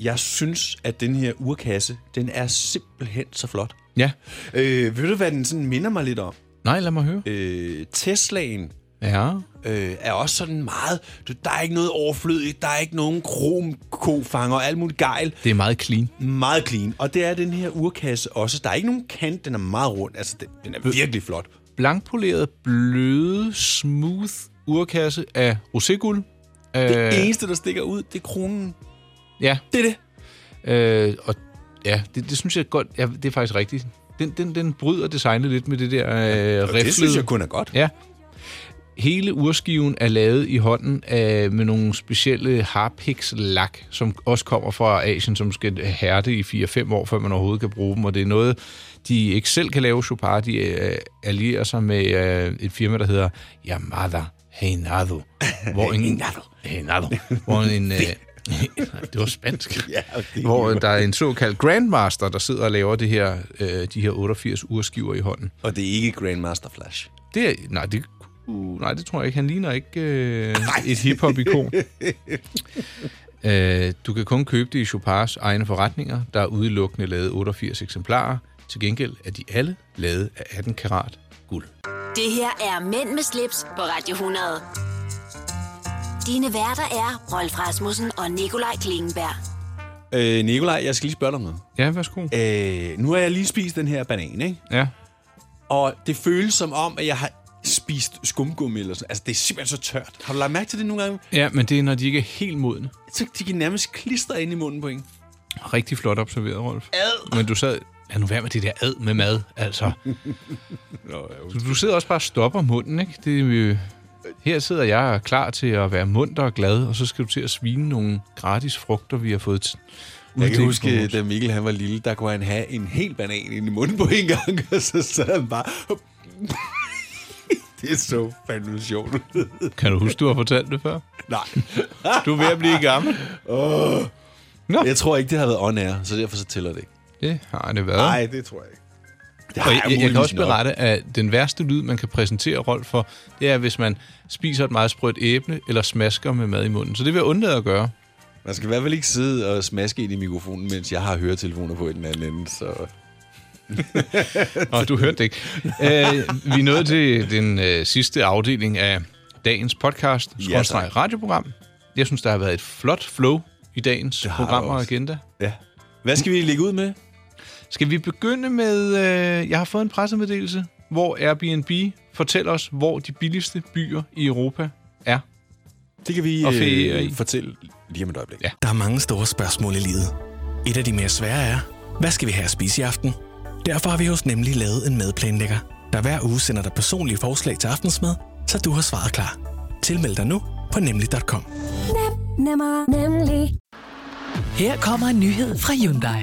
Jeg synes, at den her urkasse, den er simpelthen så flot. Ja. Øh, ved du, hvad den sådan minder mig lidt om? Nej, lad mig høre. Øh, Teslaen Ja. øh, er også sådan meget... Du, der er ikke noget overflødigt, der er ikke nogen kromkofanger og alt muligt gejl. Det er meget clean. Meget clean. Og det er den her urkasse også. Der er ikke nogen kant, den er meget rund. Altså, den, den er virkelig flot. Blankpoleret, bløde, smooth urkasse af roséguld. Øh. Det eneste, der stikker ud, det er kronen. Ja, Det er det. Øh, og ja, det, det synes jeg godt, ja, det er faktisk rigtigt. Den, den, den bryder designet lidt med det der øh, Og det synes jeg riflede. kun er godt. Ja. Hele urskiven er lavet i hånden af, med nogle specielle harpikslak, som også kommer fra Asien, som skal hærde i 4-5 år, før man overhovedet kan bruge dem. Og det er noget, de ikke selv kan lave. Chopar, de øh, allierer sig med øh, et firma, der hedder Yamada Heinado. Hvor en, Heinado. Heinado. Hvor en, øh, det var spansk hvor der er en såkaldt grandmaster, der sidder og laver det her, øh, de her 88 urskiver i hånden. Og det er ikke Grandmaster Flash. Det er, nej, det, uh, nej, det tror jeg ikke. Han ligner ikke øh, et hiphop-ikon. øh, du kan kun købe det i Chopars egne forretninger, der er udelukkende lavet 88 eksemplarer. Til gengæld er de alle lavet af 18 karat guld. Det her er Mænd med slips på Radio 100. Dine værter er Rolf Rasmussen og Nikolaj Klingenberg. Øh, Nikolaj, jeg skal lige spørge dig om noget. Ja, værsgo. Øh, nu har jeg lige spist den her banan, ikke? Ja. Og det føles som om, at jeg har spist skumgummi eller sådan. Altså, det er simpelthen så tørt. Har du lagt mærke til det nogle gange? Ja, men det er, når de ikke er helt modne. Så de kan nærmest klistre ind i munden på en. Rigtig flot observeret, Rolf. Ad. Men du sad... Ja, nu vær med det der ad med mad, altså. Du- Du sidder også bare og stopper munden, ikke? Det, er jo- her sidder jeg og er klar til at være munter og glad, og så skal du til at svine nogle gratis frugter, vi har fået t- Jeg kan uddelt på huske, vores- da Mikkel han var lille, der kunne han have en hel banan ind i munden på en gang, og så sad han bare... det er så fandme sjovt. Kan du huske, du har fortalt det før? Nej. Du er ved at blive gammel. Jeg tror ikke, det har været on air, så derfor så tæller det ikke. Det har det været. Nej, det tror jeg ikke. Det har Og jeg, jeg, jeg kan muligvis også nok. berette, at den værste lyd, man kan præsentere Rolf for, det er, hvis man spiser et meget sprødt æble eller smasker med mad i munden. Så det vil jeg undlade at gøre. Man skal i hvert fald ikke sidde og smaske ind i mikrofonen, mens jeg har høretelefoner på i den anden ende, så... Nå, du hørte det ikke. Øh, vi er nået til den øh, sidste afdeling af dagens podcast, Ja, tak. skråstreg radioprogram. Jeg synes, der har været et flot flow i dagens har der program og også. agenda. Ja. Hvad skal vi ligge ud med? Skal vi begynde med... Øh, jeg har fået en pressemeddelelse, hvor Airbnb fortæller os, hvor de billigste byer i Europa er. Det kan vi Og ferie. øh, fortælle lige om et øjeblik. Ja. Der er mange store spørgsmål i livet. Et af de mere svære er, hvad skal vi have at spise i aften? Derfor har vi hos Nemlig lavet en madplanlægger, der hver uge sender dig personlige forslag til aftensmad, så du har svaret klar. Tilmeld dig nu på nemlig.com. Nemmer, nemlig. Her kommer en nyhed fra Hyundai.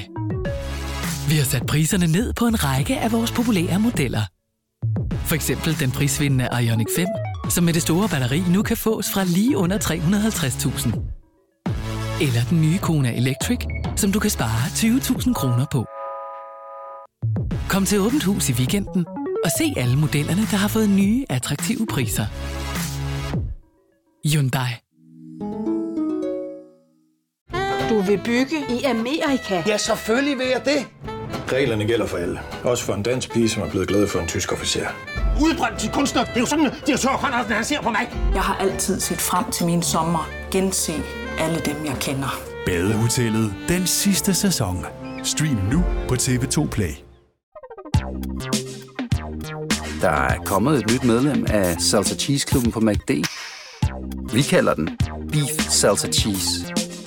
Vi har sat priserne ned på en række af vores populære modeller. For eksempel den prisvindende Ioniq 5, som med det store batteri nu kan fås fra lige under 350.000. Eller den nye Kona Electric, som du kan spare 20.000 kroner på. Kom til Åbent Hus i weekenden og se alle modellerne, der har fået nye, attraktive priser. Hyundai. Du vil bygge i Amerika? Ja, selvfølgelig vil jeg det. Reglerne gælder for alle. Også for en dansk pige, som er blevet glad for en tysk officer. Udbrændt til kunstner. Det er jo sådan, at de har Conradsen, han ser på mig. Jeg har altid set frem til min sommer. Gense alle dem, jeg kender. Badehotellet den sidste sæson. Stream nu på TV2 Play. Der er kommet et nyt medlem af Salsa Cheese Klubben på MACD. Vi kalder den Beef Salsa Cheese,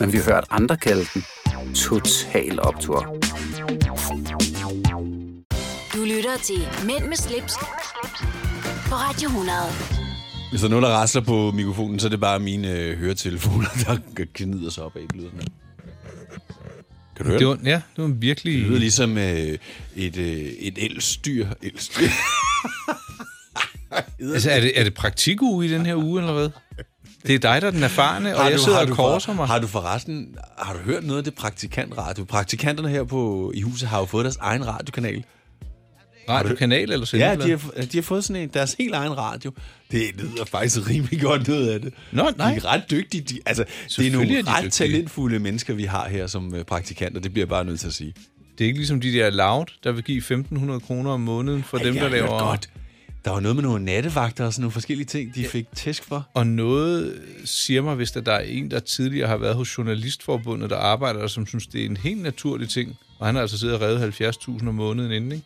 men vi har hørt andre kalde den Total Optor. Du lytter til Mænd med slips, på Radio 100. Hvis der er nogen, der rasler på mikrofonen, så er det bare mine øh, høretelefoner, der gnider sig op af lyden. Kan du høre Det var, ja, det var virkelig... Det lyder ligesom øh, et, øh, et elstyr. elstyr. Altså, er det, er det praktikuge i den her uge, eller hvad? Det er dig, der er den erfarne, og Har jeg du- sidder har og du korser for- mig. Har du forresten har du hørt noget af det praktikantradio? Praktikanterne her på, i huset har jo fået deres egen radiokanal. Har du- Radiokanal eller Ja, sendeblad? de har, de har fået sådan en, deres helt egen radio. Det lyder faktisk rimelig godt ud af det. Nå, nej. De er ret dygtige. De, altså, det er Selvfølgelig nogle er de ret dygtige. talentfulde mennesker, vi har her som øh, praktikanter. Det bliver jeg bare nødt til at sige. Det er ikke ligesom de der loud, der vil give 1.500 kroner om måneden for Ej, dem, jeg der hørte laver... godt. Der var noget med nogle nattevagter og sådan nogle forskellige ting, de fik tæsk for. Og noget siger mig, hvis der, der er en, der tidligere har været hos Journalistforbundet, der arbejder, og som synes, det er en helt naturlig ting, og han har altså siddet og revet 70.000 om måneden inden, ikke?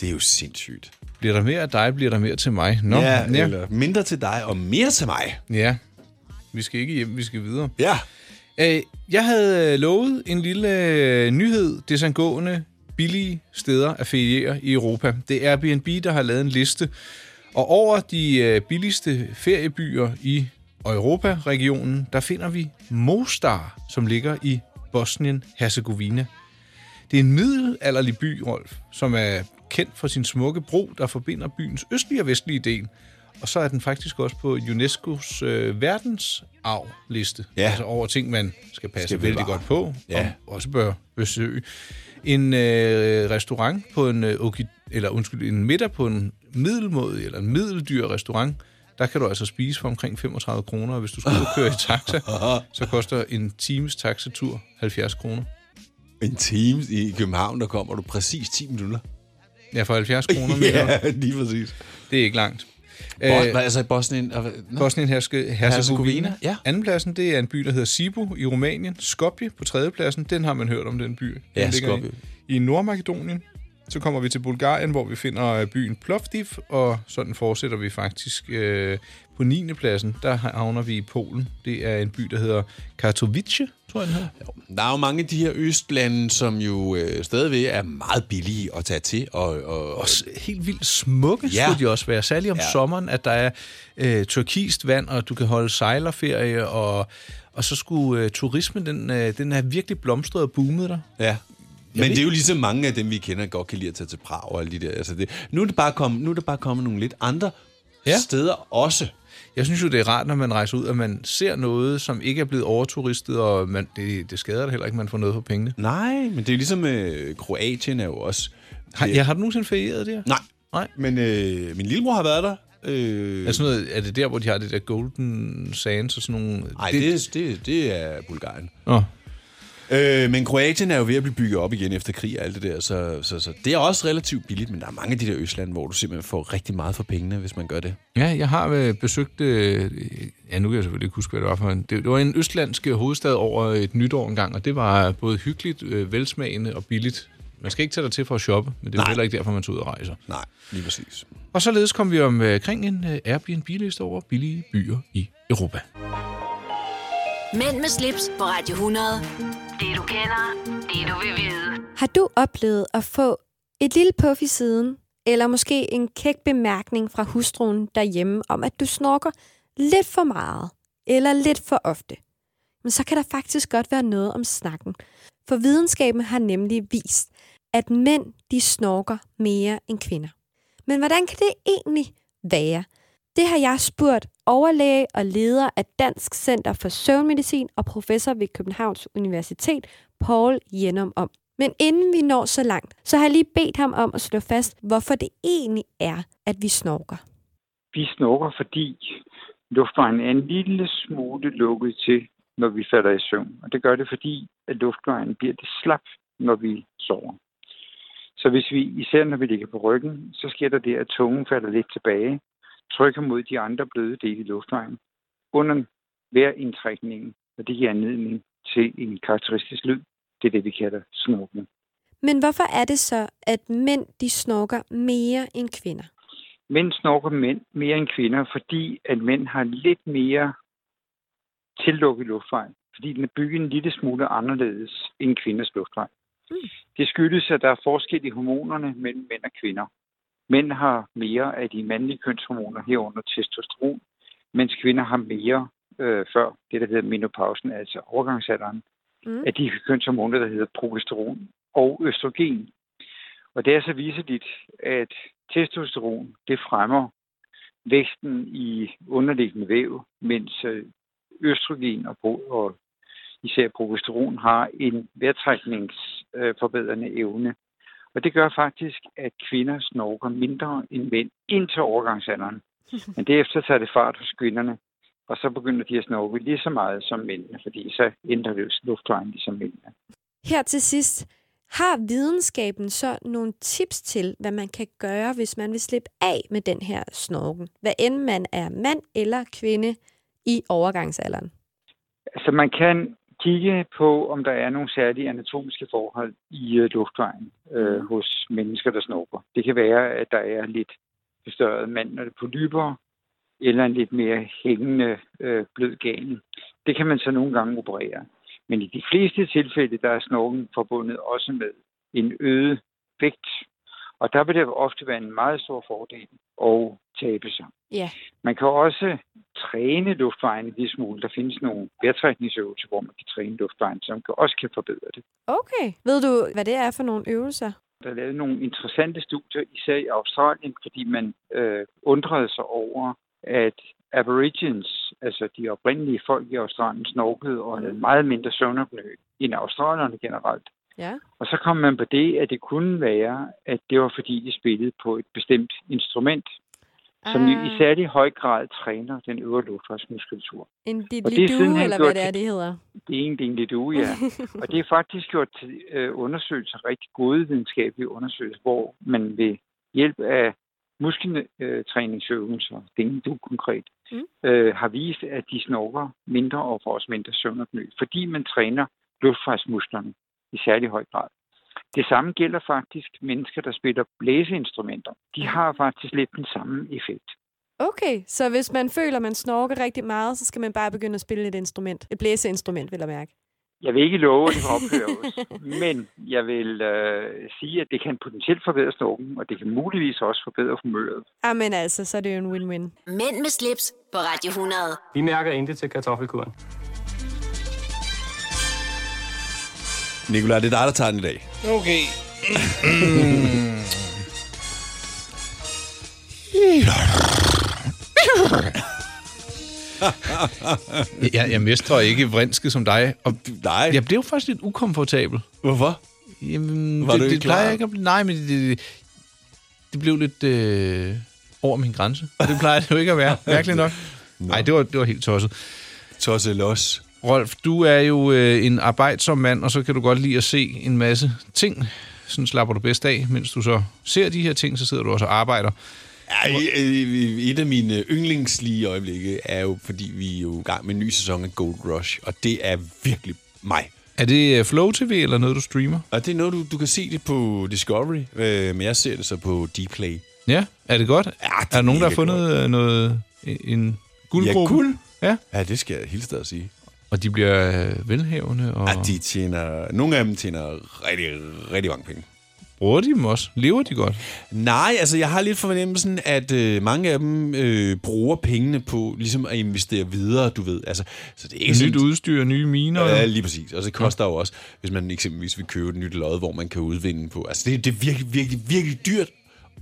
Det er jo sindssygt. Bliver der mere af dig, bliver der mere til mig. Nå, ja, eller mindre til dig og mere til mig. Ja. Vi skal ikke hjem, vi skal videre. Ja. Øh, jeg havde øh, lovet en lille øh, nyhed desangående billige steder at feriere i Europa. Det er Airbnb, der har lavet en liste. Og over de øh, billigste feriebyer i Europa-regionen, der finder vi Mostar, som ligger i Bosnien-Herzegovina. Det er en middelalderlig by, Rolf, som er kendt for sin smukke bro, der forbinder byens østlige og vestlige del. Og så er den faktisk også på UNESCO's øh, verdensarvliste. Ja. Altså over ting, man skal passe Skal skal vældig bevare. godt på, Ja. og også bør besøge. En øh, restaurant på en, øh, oki- eller, undskyld, en middag på en middelmådig eller en middeldyr restaurant, der kan du altså spise for omkring 35 kroner, og hvis du skal ud og køre i taxa, så koster en times taxatur 70 kroner. En time i København, der kommer du præcis 10 minutter. Ja, for 70 kroner. Øh, Ja, mener du? lige præcis. Det er ikke langt. Bos- hvad, altså i Bosnien? og- nå. Bosnien Herzegovina. Herzegovina, ja. Andenpladsen, det er en by, der hedder Sibu i Rumænien. Skopje på tredjepladsen, den har man hørt om, den by. Den Ja, ligger Skopje. I, i Nordmakedonien. Så kommer vi til Bulgarien, hvor vi finder øh, byen Plovdiv, og sådan fortsætter vi faktisk øh, på 9. pladsen. Der havner vi i Polen. Det er en by, der hedder Katowice, tror jeg den hedder. Der er jo mange af de her østlande, som jo øh, stadigvæk er meget billige at tage til. Og, og, og helt vildt smukke Ja. skulle de også være. Særligt om Ja. ja. sommeren, at der er øh, turkist vand, og du kan holde sejlerferie, og, og så skulle øh, turismen, den, øh, den er virkelig blomstret og boomet der. Ja. Men ved det er jo ikke. ligesom mange af dem, vi kender, godt kan lide at tage til Prag og alle de der. Altså det, nu, er det bare kommet, nu er det bare kommet nogle lidt andre ja. steder også. Jeg synes jo, det er rart, når man rejser ud, at man ser noget, som ikke er blevet overturistet, og man, det, det skader da heller ikke, at man får noget for pengene. Nej, men det er jo ligesom øh, Kroatien er jo også... Har- ja, har du nogensinde ferieret der? Nej. Nej. Men øh, min lillebror har været der. Øh, Er, Altså sådan noget, er det der, hvor de har det der golden sands og sådan nogle... Nej, det, det, det, det er Bulgarien. Nå. Øh, men Kroatien er jo ved at blive bygget op igen efter krig og alt det der, så, så, så det er også relativt billigt, men der er mange af de der østlande, hvor du simpelthen får rigtig meget for pengene, hvis man gør det. Ja, jeg har øh, besøgt... Øh, ja, nu kan jeg selvfølgelig ikke huske, hvad det var for en... Det, det var en østlandsk øh, hovedstad over et nytår engang, og det var både hyggeligt, øh, velsmagende og billigt. Man skal ikke tage dig til for at shoppe, men det er jo heller ikke derfor, man tager ud og rejser. Nej, lige præcis. Og således kom vi omkring en øh, Airbnb-liste over billige byer i Europa. Mænd med slips på Radio 100. Det du kender, det du vil vide. Har du oplevet at få et lille puff i siden, eller måske en kæk bemærkning fra hustruen derhjemme om, at du snorker lidt for meget, eller lidt for ofte? Men så kan der faktisk godt være noget om snakken. For videnskaben har nemlig vist, at mænd de snorker mere end kvinder. Men hvordan kan det egentlig være? Det har jeg spurgt overlæge og leder af Dansk Center for Søvnmedicin og professor ved Københavns Universitet, Paul Jennum om. Men inden vi når så langt, så har jeg lige bedt ham om at slå fast, hvorfor det egentlig er, at vi snorker. Vi snorker, fordi luftvejen er en lille smule lukket til, når vi falder i søvn. Og det gør det, fordi at luftvejen bliver det slap, når vi sover. Så hvis vi, især når vi ligger på ryggen, så sker der det, at tungen falder lidt tilbage, trykker mod de andre bløde dele i luftvejen, under hver indtrækning, og det giver anledning til en karakteristisk lyd. Det er det, vi kalder snorken. Men hvorfor er det så, at mænd de snorker mere end kvinder? mænd snorker mænd mere end kvinder, fordi at mænd har lidt mere tillukket luftvej. Fordi den er bygget en lille smule anderledes end kvinders luftvej. Det skyldes, at der er forskel i hormonerne mellem mænd og kvinder. Mænd har mere af de mandlige kønshormoner herunder testosteron, mens kvinder har mere øh, før det, der hedder menopausen, altså overgangsalderen, mm. af de kønshormoner, der hedder progesteron og østrogen. Og det er så viseligt, at testosteron det fremmer væksten i underliggende væv, mens øh, østrogen og, pro- og især progesteron har en vejrtrækningsforbedrende evne. Og det gør faktisk, at kvinder snorker mindre end mænd indtil overgangsalderen. Men derefter tager det fart hos kvinderne, og så begynder de at snorke lige så meget som mændene, fordi så ændrer det jo luftvejen ligesom mændene. Her til sidst, har videnskaben så nogle tips til, hvad man kan gøre, hvis man vil slippe af med den her snorken? Hvad end man er mand eller kvinde i overgangsalderen. Altså man kan kigge på, om der er nogle særlige anatomiske forhold i øh, luftvejen øh, hos mennesker, der snorker. Det kan være, at der er lidt bestørret mandler på dybere, eller en lidt mere hængende øh, blød gane. Det kan man så nogle gange operere. Men i de fleste tilfælde, der er snorken forbundet også med en øget vægt. Og der vil det ofte være en meget stor fordel at tabe sig. Ja. Man kan også træne luftvejen en lille smule. Der findes nogle vejrtrækningsøvelser, hvor man kan træne luftvejen, som kan- også kan forbedre det. Okay. Ved du, hvad det er for nogle øvelser? Der er lavet nogle interessante studier, især i Australien, fordi man øh, undrede sig over, at aborigines, altså de oprindelige folk i Australien, snorkede og havde meget mindre søvnopnø end australierne generelt. Ja. Og så kom man på det, at det kunne være, at det var fordi, de spillede på et bestemt instrument, som jo i særlig høj grad træner den øvre luftvejsmuskulatur. En dit Og det er lidu, sidenhen eller hvad gjort det er, til- det hedder. Det er egentlig en lidt uge, ja. Og det er faktisk gjort til øh, undersøgelser, rigtig gode videnskabelige undersøgelser, hvor man ved hjælp af muskeltræningsøvelser, det er du konkret, mm. øh, har vist, at de snorker mindre og får også mindre søvnopnø, fordi man træner luftvejsmusklerne i særlig høj grad. Det samme gælder faktisk mennesker, der spiller blæseinstrumenter. De har faktisk lidt den samme effekt. Okay, så hvis man føler, man snorker rigtig meget, så skal man bare begynde at spille et instrument. Et blæseinstrument, vil jeg mærke. Jeg vil ikke love, at det kan ophøre os, men jeg vil øh, sige, at det kan potentielt forbedre snorken, og det kan muligvis også forbedre humøret. Amen altså, så er det jo en win-win. Mænd med slips på Radio 100. Vi mærker intet til kartoffelkuren. Nikolaj, det er dig, der tager den i dag. Okay. jeg, jeg mestrer ikke vrinske som dig. Og Nej. Jeg blev faktisk lidt ukomfortabel. Hvorfor? Jamen, Var Var du det, ikke det plejer klar? ikke at blive... Nej, men det, det, det blev lidt øh, over min grænse. Og det plejer det jo ikke at være. Mærkeligt nok. Nej, det var, det var helt tosset. Tosset los. Rolf, du er jo øh, en arbejdsom mand, og så kan du godt lide at se en masse ting. Sådan slapper du bedst af. Mens du så ser de her ting, så sidder du også og arbejder. Ja, i- i- et af mine yndlingslige øjeblikke er jo, fordi vi er jo i gang med en ny sæson af Gold Rush, og det er virkelig mig. Er det øh, Flow TV eller noget, du streamer? Og det er noget, du, du kan se det på Discovery, øh, men jeg ser det så på Dplay. Ja, er det godt? Ja, det er der nogen, der har mega fundet godt. noget, øh, en guldgruppe? Ja, guld. Ja. Ja, det skal jeg helt at sige. Og de bliver øh, velhavende? Og... Ja, de tjener, nogle af dem tjener rigtig, rigtig mange penge. Bruger de dem også? Lever de godt? Nej, altså jeg har lidt fornemmelsen, at øh, mange af dem øh, bruger pengene på ligesom at investere videre, du ved. Altså, så det er ikke Nyt sådan- udstyr, nye miner? Ja, lige præcis. Og så koster det jo også, hvis man eksempelvis vil købe et nyt lod, hvor man kan udvinde på. Altså, det, det er virkelig, virkelig, virkelig dyrt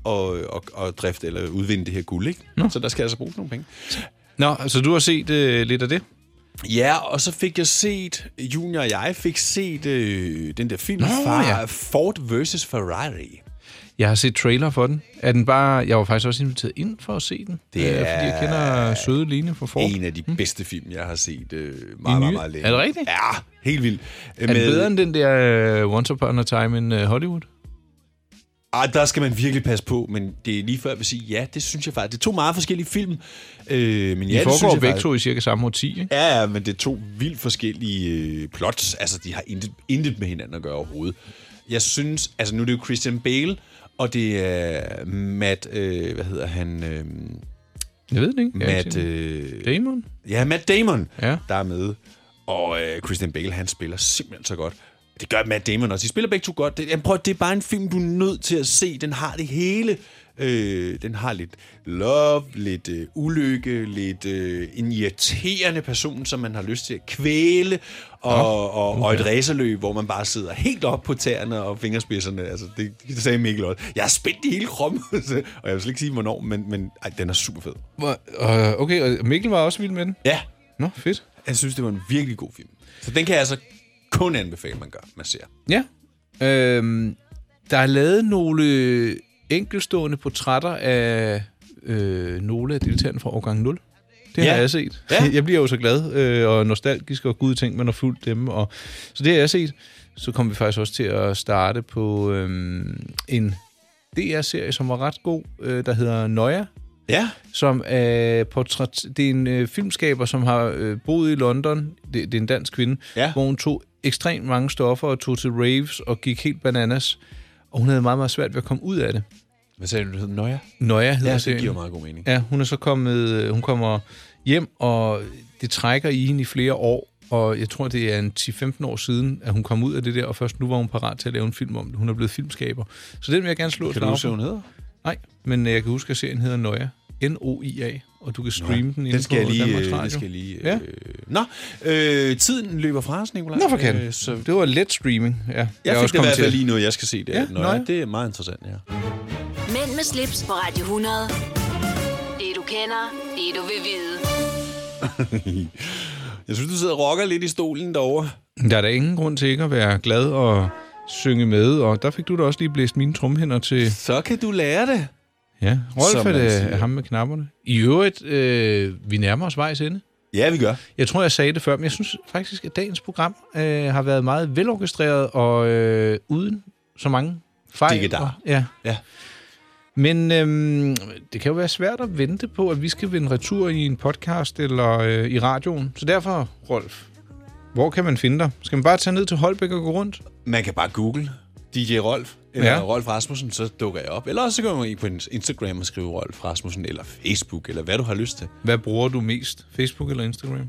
at, at, at drifte eller udvinde det her guld, ikke? Nå. Så der skal altså bruges nogle penge. Nå, så du har set øh, lidt af det? Ja, og så fik jeg set, Junior og jeg fik set øh, den der film, Nå, Nå, Far, ja. ja. Ford vs. Ferrari. Jeg har set trailer for den. Er den bare... Jeg var faktisk også inviteret ind for at se den. Det øh, Fordi jeg kender søde Line fra Ford. En af de bedste film, jeg har set øh, Hmm. I meget, nye- meget, meget længe. Er det rigtigt? Ja, helt vildt. Er den bedre end den der uh, Once Upon a Time in øh, Hollywood? Ah, der skal man virkelig passe på, men det er lige før, jeg vil sige, ja, det synes jeg faktisk. Det er to meget forskellige film. Øh, men De ja, det synes foregår jeg begge faktisk- to i cirka samme årti, ikke? Ja, ja, men det er to vildt forskellige øh, plots. Altså, de har intet, intet med hinanden at gøre overhovedet. Jeg synes, altså nu er det jo Christian Bale, og det er Matt, øh, hvad hedder han? Øh, Jeg ved det ikke. Jeg har ikke Matt, set den. øh, Damon? Ja, Matt Damon, ja. der er med. Og øh, Christian Bale, han spiller simpelthen så godt. Det gør Matt Damon også. De spiller begge to godt. Det, jamen, prøv, at- det er bare en film, du er nødt til at se. Den har det hele. Øh, den har lidt love, lidt øh, ulykke, lidt øh, en irriterende person, som man har lyst til at kvæle, og, og, og et racerløb, hvor man bare sidder helt op på tæerne og fingerspidserne. Altså, det, det sagde Mikkel også. Jeg er spændt i hele kroppen, og jeg vil slet ikke sige, hvornår, men, men ej, den er super fed. Hvor- øh, Okay, og Mikkel var også vild med den? Ja. Nå, fedt. Jeg synes, det var en virkelig god film. Så den kan jeg altså kun anbefale, man gør, man ser. Ja. Øhm, der er lavet nogle enkelstående portrætter af øh, nogle af deltagerne fra årgang 0. Det har Ja. jeg set. Ja. Jeg bliver jo så glad øh, og nostalgisk og gud ting, man har fulgt dem. Og, så det har jeg set. Så kom vi faktisk også til at starte på øhm, en DR-serie, som var ret god, øh, der hedder Nøja. Ja. Som er portræt... Det er en øh, filmskaber, som har øh, boet i London. Det, det er en dansk kvinde. Ja. Hvor hun tog ekstremt mange stoffer og tog til raves og gik helt bananas. Og hun havde meget, meget svært ved at komme ud af det. Hvad sagde du, du hed Nøja? Nøja hedder Ja, det serien. giver meget god mening. Ja, hun er så kommet, øh, hun kommer hjem, og det trækker i hende i flere år, og jeg tror, det er en 10-15 år siden, at hun kom ud af det der, og først nu var hun parat til at lave en film om det. Hun er blevet filmskaber. Så den vil jeg gerne slå et Kan du slag huske, for. hvad hun hedder? Nej, men øh, jeg kan huske, at serien hedder Nøja. N-O-I-A, og du kan streame den, inde den skal på jeg lige, Danmarks øh, Radio. den skal jeg lige, ja. Nå, øh, tiden løber fra os, Nicolaj. Nå, for kan Øh, så Det var let streaming, ja. Jeg, jeg, er jeg også fik det i kommet hvert til fald at- lige noget, jeg skal se. Det, ja, Ja, Nøja. Nøja. det er meget interessant, ja. Mænd med slips på Radio 100. Det du kender, det du vil vide. jeg synes, du sidder og rocker lidt i stolen derovre. Der er da ingen grund til ikke at være glad og synge med, og der fik du da også lige blæst mine trumhænder til... Så kan du lære det. Ja, Rolf Som er man det siger. er ham med knapperne. I øvrigt, øh, vi nærmer os vejs ende. Ja, vi gør. Jeg tror, jeg sagde det før, men jeg synes faktisk, at dagens program øh, har været meget velorkestreret og øh, uden så mange fejl. Dikke dar. og- Ja. ja. Men øhm, det kan jo være svært at vente på, at vi skal vende retur i en podcast eller øh, i radioen. Så derfor, Rolf, hvor kan man finde dig? Skal man bare tage ned til Holbæk og gå rundt? Man kan bare google DJ Rolf, eller Ja. ja. Rolf Rasmussen, så dukker jeg op. Eller også så går man ind på Instagram og skriver Rolf Rasmussen, eller Facebook, eller hvad du har lyst til. Hvad bruger du mest? Facebook eller Instagram?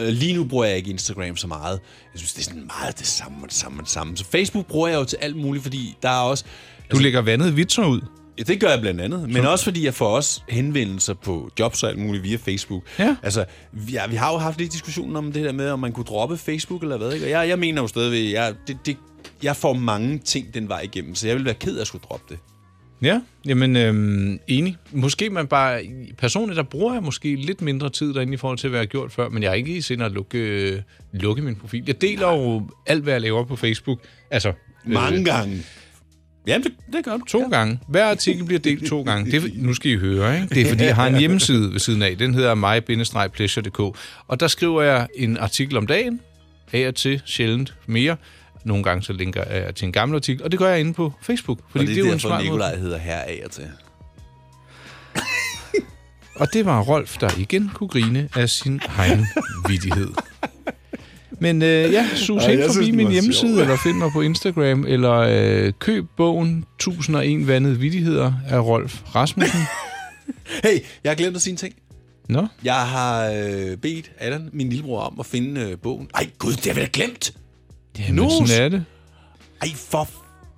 Øh, Lige nu bruger jeg ikke Instagram så meget. Jeg synes, det er sådan meget det samme og det samme og det samme. Så Facebook bruger jeg jo til alt muligt, fordi der er også... Du altså, lægger vandet vitser ud. Ja, det gør jeg blandt andet. Men også fordi jeg får også henvendelser på jobs og alt muligt via Facebook. Ja. Altså, vi, ja, vi har jo haft lidt diskussionen om det der med, om man kunne droppe Facebook eller hvad. Ikke? Og jeg, jeg mener jo stadigvæk, jeg, det, det, jeg får mange ting den vej igennem, så jeg vil være ked af at skulle droppe det. Ja, jamen øhm, enig. Måske man bare... Personligt, der bruger jeg måske lidt mindre tid derinde i forhold til, hvad jeg har gjort før, men jeg er ikke i sinde at lukke, øh, lukke min profil. Jeg deler jo alt, hvad jeg laver på Facebook. Altså... Mange gange. Jamen, det, det gør du. To gange. Hver artikel bliver delt to gange. Det er, for- nu skal I høre, ikke? Det er, fordi jeg har en hjemmeside ved siden af. Den hedder mig-pleasure.dk. Og der skriver jeg en artikel om dagen. Af og til sjældent mere. Nogle gange så linker jeg til en gammel artikel. Og det gør jeg inde på Facebook. Fordi Fordi og det er, det jo er en smart derfor, måde. Nikolaj hedder her af og til. Og det var Rolf, der igen kunne grine af sin egen vidighed. Men øh, ja, sus Ej, hen jeg synes, forbi den min var sjov. hjemmeside, eller find mig på Instagram, eller øh, køb bogen 1001 Vandede Vidigheder af Rolf Rasmussen. Hey, jeg har glemt at sige en ting. Nå? Jeg har øh, bedt Allan, min lillebror, om at finde øh, bogen. Ej gud, det har jeg da glemt! Jamen, Nus! sådan er det. Ej, for...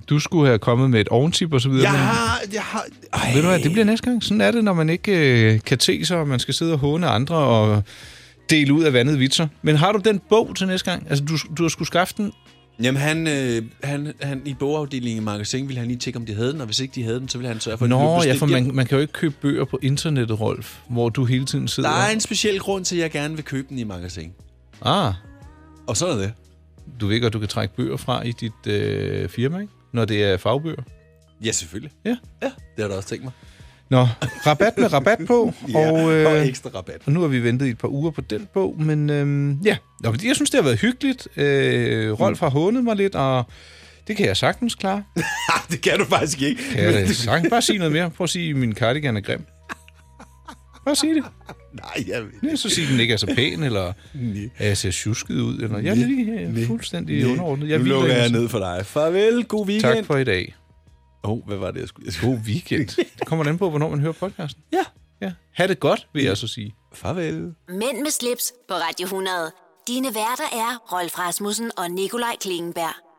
Du skulle have kommet med et ovntip og så videre. Jeg men- har... Jeg har ej. Ved du hvad, det bliver næste gang. Sådan er det, når man ikke øh, kan te sig, og man skal sidde og håne andre og dele ud af vandede vitser. Men har du den bog til næste gang? Altså, du, du har skulle skaffe den. Jamen, han, øh, han, han, i bogafdelingen i magasin ville han lige tjekke, om de havde den, og hvis ikke de havde den, så ville han sørge for, at Nå, ja, for man, man... man kan jo ikke købe bøger på internettet, Rolf, hvor du hele tiden sidder. Der er en speciel grund til, at jeg gerne vil købe den i magasin. Ah. Og så er det. Du ved godt, du kan trække bøger fra i dit øh, firma, ikke? Når det er fagbøger. Ja, selvfølgelig. Ja. Ja, det har jeg da også tænkt mig. Nå, rabat med rabat på. øh, Ja, og ekstra rabat. Og nu har vi ventet i et par uger på den bog, men øhm, ja. Nå, men jeg synes, det har været hyggeligt. Øh, Rolf har hånet mig lidt, og det kan jeg sagtens klare. det kan du faktisk ikke. Kan jeg da sagtens? Bare sige noget mere. Prøv at sige, at min cardigan er grim. Bare sige det. Nej, jeg ved Ja, så sige, at den ikke er så pæn, eller at jeg ser tjusket ud. Eller, jeg er lige øh, fuldstændig underordnet. Jeg nu hviler lukker i mig jeg selv. ned for dig. Farvel, god weekend. Tak for i dag. Åh, oh, hvad var det, jeg skulle... God weekend. Det kommer an på, hvornår man hører podcasten. Ja. ja. Ha' det godt, vil jeg så sige. Farvel. Mænd med slips på Radio 100. Dine værter er Rolf Rasmussen og Nikolaj Klingenberg.